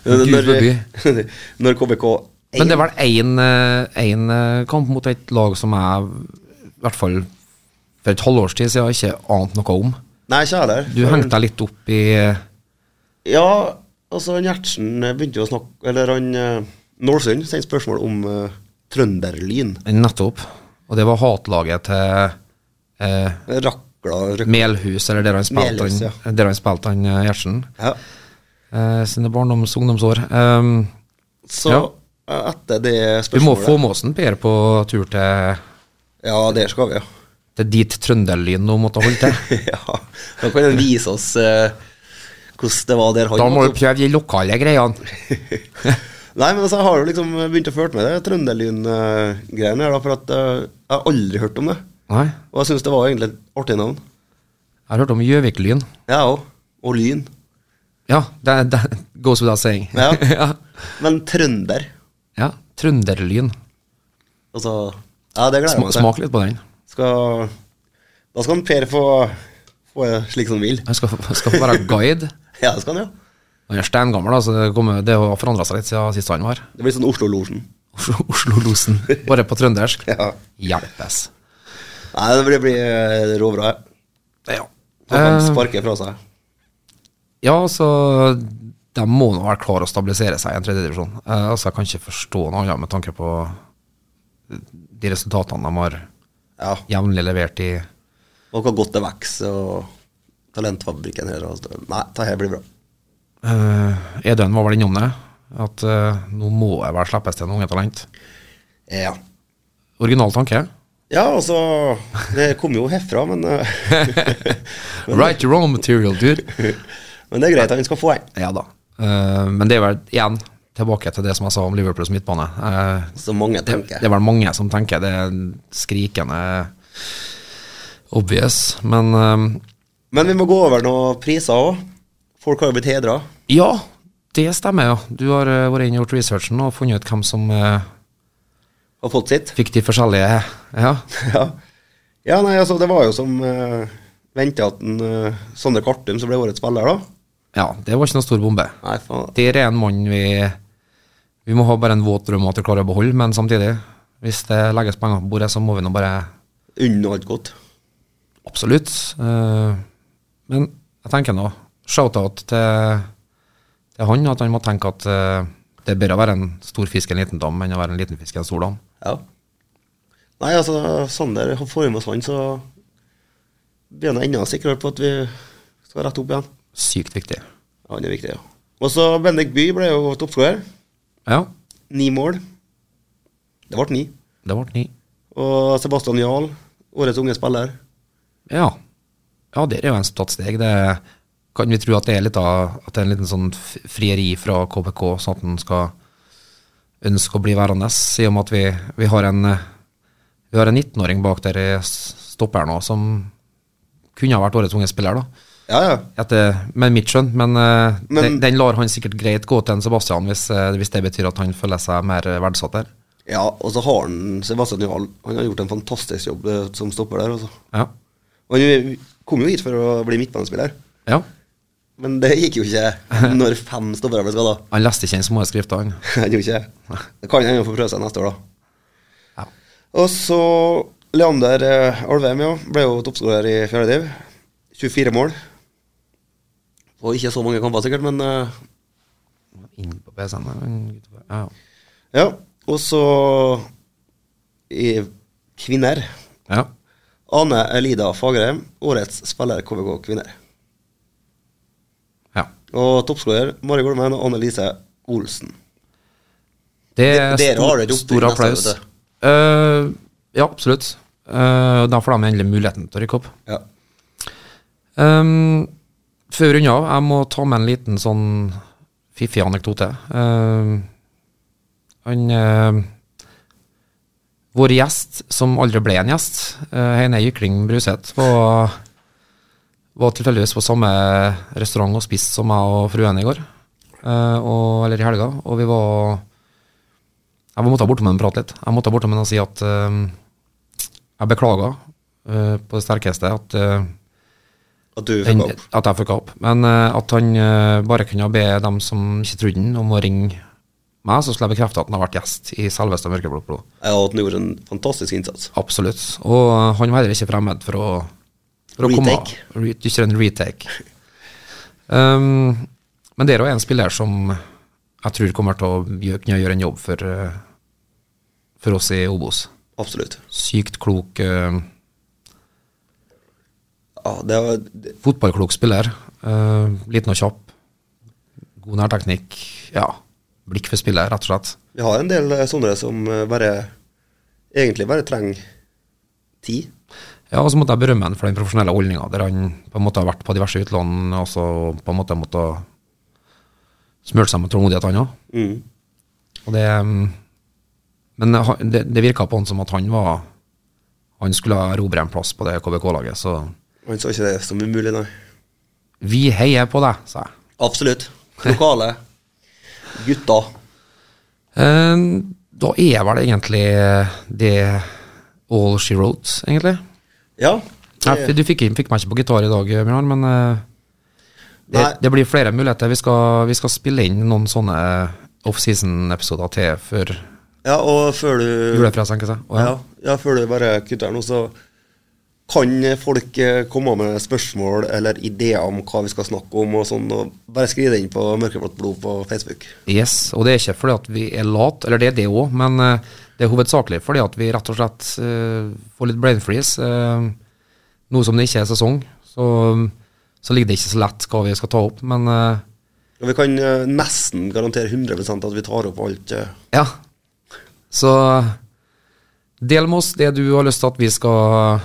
[SPEAKER 3] Gud
[SPEAKER 5] når, når KBK
[SPEAKER 3] Men det er vel én, eh, én eh, kamp mot et lag som jeg, i hvert fall for et halvårs tid siden, ikke ante noe om.
[SPEAKER 5] Nei, ikke jeg heller.
[SPEAKER 3] Du hengte deg litt opp i eh,
[SPEAKER 5] Ja, altså han Gjertsen eh, begynte jo å snakke Eller han eh, Nålsund sendte spørsmål om eh, Trønderlyn.
[SPEAKER 3] nettopp, og det var hatlaget til eh,
[SPEAKER 5] Rakla røk...
[SPEAKER 3] Melhus, eller der han spilte
[SPEAKER 5] Melhus,
[SPEAKER 3] han, der han, spilte han eh, Gjertsen,
[SPEAKER 5] Ja.
[SPEAKER 3] eh, sine barndoms- og ungdomsår. Um,
[SPEAKER 5] Så
[SPEAKER 3] Ja.
[SPEAKER 5] eh, etter det
[SPEAKER 3] vi må
[SPEAKER 5] spørsmålet
[SPEAKER 3] få med oss en Per på tur til
[SPEAKER 5] Ja, det skal vi, ja.
[SPEAKER 3] Det er dit trønderlyn nå måtte holde til.
[SPEAKER 5] ja. Da kan han vise oss eh, hvordan det var der han
[SPEAKER 3] Da må
[SPEAKER 5] vokste
[SPEAKER 3] du
[SPEAKER 5] opp.
[SPEAKER 3] prøve de lokale greiene.
[SPEAKER 5] Nei, men altså, jeg har jo liksom begynt å følge med det Trønderlyn-greiene her, da, for at eh, jeg har aldri hørt om det.
[SPEAKER 3] Nei,
[SPEAKER 5] Og jeg syns det var egentlig et artig navn.
[SPEAKER 3] jeg har hørt om Gjøvik-lyn.
[SPEAKER 5] Jeg ja, òg. Og Lyn.
[SPEAKER 3] Ja, det, det goes without saying.
[SPEAKER 5] Ja.
[SPEAKER 3] ja.
[SPEAKER 5] Men trønder,
[SPEAKER 3] ja trønderlyn.
[SPEAKER 5] altså Ja, det gleder jeg
[SPEAKER 3] Sma,
[SPEAKER 5] meg til.
[SPEAKER 3] smak litt på den.
[SPEAKER 5] skal, Da skal han Per få, få det slik som han vil.
[SPEAKER 3] Han skal, skal få være guide.
[SPEAKER 5] Ja, det skal han jo.
[SPEAKER 3] Han er steingammel, da, så det, kommer, det har forandra seg litt siden sist han var.
[SPEAKER 5] Det blir sånn Oslo-losjen.
[SPEAKER 3] Oslo- Oslo-losen, bare på trøndersk.
[SPEAKER 5] Ja.
[SPEAKER 3] Hjelpes.
[SPEAKER 5] Nei, det blir, blir eh, råbra. jeg.
[SPEAKER 3] Ja.
[SPEAKER 5] Så kan
[SPEAKER 3] Eh.
[SPEAKER 5] han sparke fra seg.
[SPEAKER 3] Ja, så de må nå være klare å stabilisere seg i en tredjedivisjon. Eh, altså, jeg kan ikke forstå noe annet med tanke på de resultatene de har
[SPEAKER 5] Ja,
[SPEAKER 3] jevnlig levert i
[SPEAKER 5] Og hvor godt det vokser, og talentfabrikken her og alt det. Nei, det her blir bra.
[SPEAKER 3] eh, Edøen var vel innom det, at eh, nå må jeg vel slippes til en unge talent.
[SPEAKER 5] Ja.
[SPEAKER 3] Original tanke.
[SPEAKER 5] Ja, altså Det kom jo herfra, men eh,
[SPEAKER 3] Right your own material, dude.
[SPEAKER 5] Men det er greit, han skal få en.
[SPEAKER 3] Ja da. Eh, men det er vel igjen tilbake til det som jeg sa om Liverpools midtbane. Eh,
[SPEAKER 5] Som mange
[SPEAKER 3] det,
[SPEAKER 5] tenker.
[SPEAKER 3] det er vel mange som tenker det er skrikende obvious, men eh,
[SPEAKER 5] Men vi må gå over noen priser òg. Folk har jo blitt hedra.
[SPEAKER 3] ja, det stemmer, ja. Du har eh, vært inne og gjort researchen og funnet ut hvem som eh,
[SPEAKER 5] Har fått sitt.
[SPEAKER 3] fikk de forskjellige Ja.
[SPEAKER 5] Ja. ja, nei, altså, det var jo som uh, venta at en, eh, Sondre Kartum, som ble årets spiller, da
[SPEAKER 3] ja, det var ikke noe stor bombe.
[SPEAKER 5] Nei, faen.
[SPEAKER 3] Der er en mann vi Vi må ha bare en våt drøm om at vi klarer å beholde, men samtidig, hvis det legges penger på bordet, så må vi nå bare
[SPEAKER 5] Unna alt godt.
[SPEAKER 3] Absolutt. eh, men jeg tenker nå Shout-out til, til han, at han må tenke at eh, det er bedre å være en stor fisk i en liten dam enn å være en liten fisk i en stor dam.
[SPEAKER 5] Ja. Nei, altså, Sander får vi med oss han, så blir han enda sikrere på at vi skal rette opp igjen.
[SPEAKER 3] Sykt viktig.
[SPEAKER 5] Ja, Han er viktig, ja. Og så Bendik By ble jo toppskårer.
[SPEAKER 3] Ja,
[SPEAKER 5] Ni mål. Det ble ni.
[SPEAKER 3] det ble ni.
[SPEAKER 5] Og Sebastian Jarl, årets unge spiller.
[SPEAKER 3] Ja. ja, der er jo en tatt steg. Det kan vi tro at det er litt av At det er en liten sånn f- frieri fra KBK, sånn at en skal ønske å bli værende, i og med at vi, vi har en eh, Vi har en 19-åring bak der i s- stopper nå, som kunne ha vært årets unge spiller, da.
[SPEAKER 5] Ja, ja.
[SPEAKER 3] Etter, med mitt skjønn, men, eh,
[SPEAKER 5] Men-
[SPEAKER 3] den, den lar han sikkert greit gå til en Sebastian, hvis, eh, hvis det betyr at han føler seg mer eh, verdsatt der.
[SPEAKER 5] Ja, og så har han Sebastian Jarl Han har gjort en fantastisk jobb eh, som stopper der. Altså.
[SPEAKER 3] Ja.
[SPEAKER 5] Og Han kom jo hit for å bli midtbanespiller,
[SPEAKER 3] ja.
[SPEAKER 5] men det gikk jo ikke når fem stoppere ble skada.
[SPEAKER 3] Han leste ikke den små skrifta, han.
[SPEAKER 5] Han gjorde ikke det. Det kan han jo få prøve seg neste år, da.
[SPEAKER 3] Ja.
[SPEAKER 5] Og så Leander eh, Alvheim, ja. Ble jo toppskårer i fjerde div. 24 mål. Og ikke så mange kamper, sikkert, men eh,
[SPEAKER 3] Inn på PC-en. der, han gutten der. Ja, ja.
[SPEAKER 5] ja. Og så i kvinner
[SPEAKER 3] Ja.
[SPEAKER 5] Ane Elida Fagerheim, årets spiller KVK kvinner.
[SPEAKER 3] ja.
[SPEAKER 5] Og toppskårer Mari Golmen og Anne Lise Olsen.
[SPEAKER 3] Det er
[SPEAKER 5] Dere
[SPEAKER 3] stor,
[SPEAKER 5] har det oppe i
[SPEAKER 3] stor
[SPEAKER 5] neste,
[SPEAKER 3] applaus.
[SPEAKER 5] vet du.
[SPEAKER 3] Eh, ja, absolutt. Eh, da får de endelig muligheten til å rykke opp.
[SPEAKER 5] Ja.
[SPEAKER 3] Um, før vi runder av, jeg må ta med en liten sånn fiffig anekdote. Um, han eh, Vår gjest, som aldri ble en gjest, eh, Heine Jykling Bruseth, var, var tilfeldigvis på samme restaurant og spiste som meg og fruen i går. eh, og, eller i helga. Og vi var Jeg måtte bortom henne og prate litt. Jeg måtte bortom henne og si at eh, jeg beklager eh, på det sterkeste at eh,
[SPEAKER 5] At du
[SPEAKER 3] den,
[SPEAKER 5] fikk opp.
[SPEAKER 3] at jeg fucka opp. Men eh, at han eh, bare kunne be dem som ikke trodde han, om å ringe meg, så skulle jeg bekrefte at han har vært gjest i selveste Mørkeblått blod.
[SPEAKER 5] Ja, og at han gjorde en fantastisk innsats.
[SPEAKER 3] Absolutt. Og eh, han var heller ikke fremmed for å, for å komme
[SPEAKER 5] Retake.
[SPEAKER 3] Re, Ikke en retake. Um, men det er jo en spiller som jeg tror kommer til å gjø- kunne gjøre en jobb for, eh, for oss i Obos.
[SPEAKER 5] Absolutt.
[SPEAKER 3] Sykt klok, eh,
[SPEAKER 5] Ja, det var det-
[SPEAKER 3] fotballklok spiller. eh, liten og kjapp. God nærteknikk. Ja, blikk for spillet, rett og slett.
[SPEAKER 5] Vi har en del eh, sånne som eh, bare egentlig bare trenger tid.
[SPEAKER 3] Ja, og så måtte jeg berømme han for den profesjonelle holdninga, der han på en måte har vært på diverse utlån og så på en måte måtte smurt seg med tålmodighet, han òg.
[SPEAKER 5] Mm.
[SPEAKER 3] Og det mm, Men ha- det, det virka på han som at han var Han skulle erobre en plass på det KBK-laget, så
[SPEAKER 5] Han så ikke det som umulig, nei.
[SPEAKER 3] Vi heier på deg, sa jeg.
[SPEAKER 5] Absolutt. Lokale gutter.
[SPEAKER 3] Eh, Da er vel egentlig det all she wrote, egentlig.
[SPEAKER 5] Ja.
[SPEAKER 3] Nei, for du fikk, fikk meg ikke på gitar i dag, Bjørnar, men eh, det,
[SPEAKER 5] Nei.
[SPEAKER 3] det blir flere muligheter. Vi skal, vi skal spille inn noen sånne eh, offseason-episoder til før
[SPEAKER 5] ja, og før du
[SPEAKER 3] julefresa, tenker jeg. Og,
[SPEAKER 5] ja, ja, før du bare kutter her nå, så kan folk eh, komme med spørsmål eller ideer om hva vi skal snakke om og sånn, og bare skriv det inn på Mørkeblått blod på Facebook.
[SPEAKER 3] Yes, og det er ikke fordi at vi er late, eller det er det òg, men eh, det er hovedsakelig fordi at vi rett og slett eh, får litt brain freeze. eh, nå som det ikke er sesong, så, så ligger det ikke så lett hva vi skal ta opp, men eh,
[SPEAKER 5] Og vi kan eh, nesten garantere 100 at vi tar opp alt. eh.
[SPEAKER 3] Ja. Så del med oss det du har lyst til at vi skal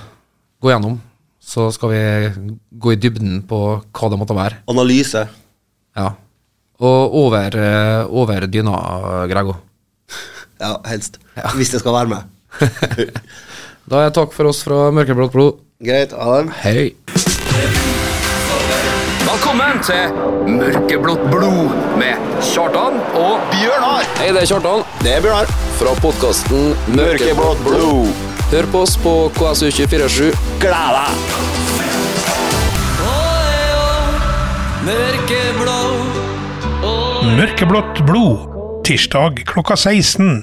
[SPEAKER 3] gå gjennom. Så skal vi gå i dybden på hva det måtte være.
[SPEAKER 5] Analyse.
[SPEAKER 3] Ja. Og over, eh, over dyna, Grego.
[SPEAKER 5] Ja, helst. Hvis jeg skal være med.
[SPEAKER 3] Da er takk for oss fra Mørkeblått blod.
[SPEAKER 5] Greit, ha det.
[SPEAKER 3] Hei.
[SPEAKER 1] Velkommen til Mørkeblått blod med Kjartan og
[SPEAKER 2] Bjørnar!
[SPEAKER 6] Hei, det er Kjartan. Det er Bjørnar. Fra podkasten
[SPEAKER 2] Mørkeblått blod.
[SPEAKER 6] Hør på oss på KSU247.
[SPEAKER 2] Gleda!
[SPEAKER 4] Mørkeblått blod. Tirsdag klokka 16.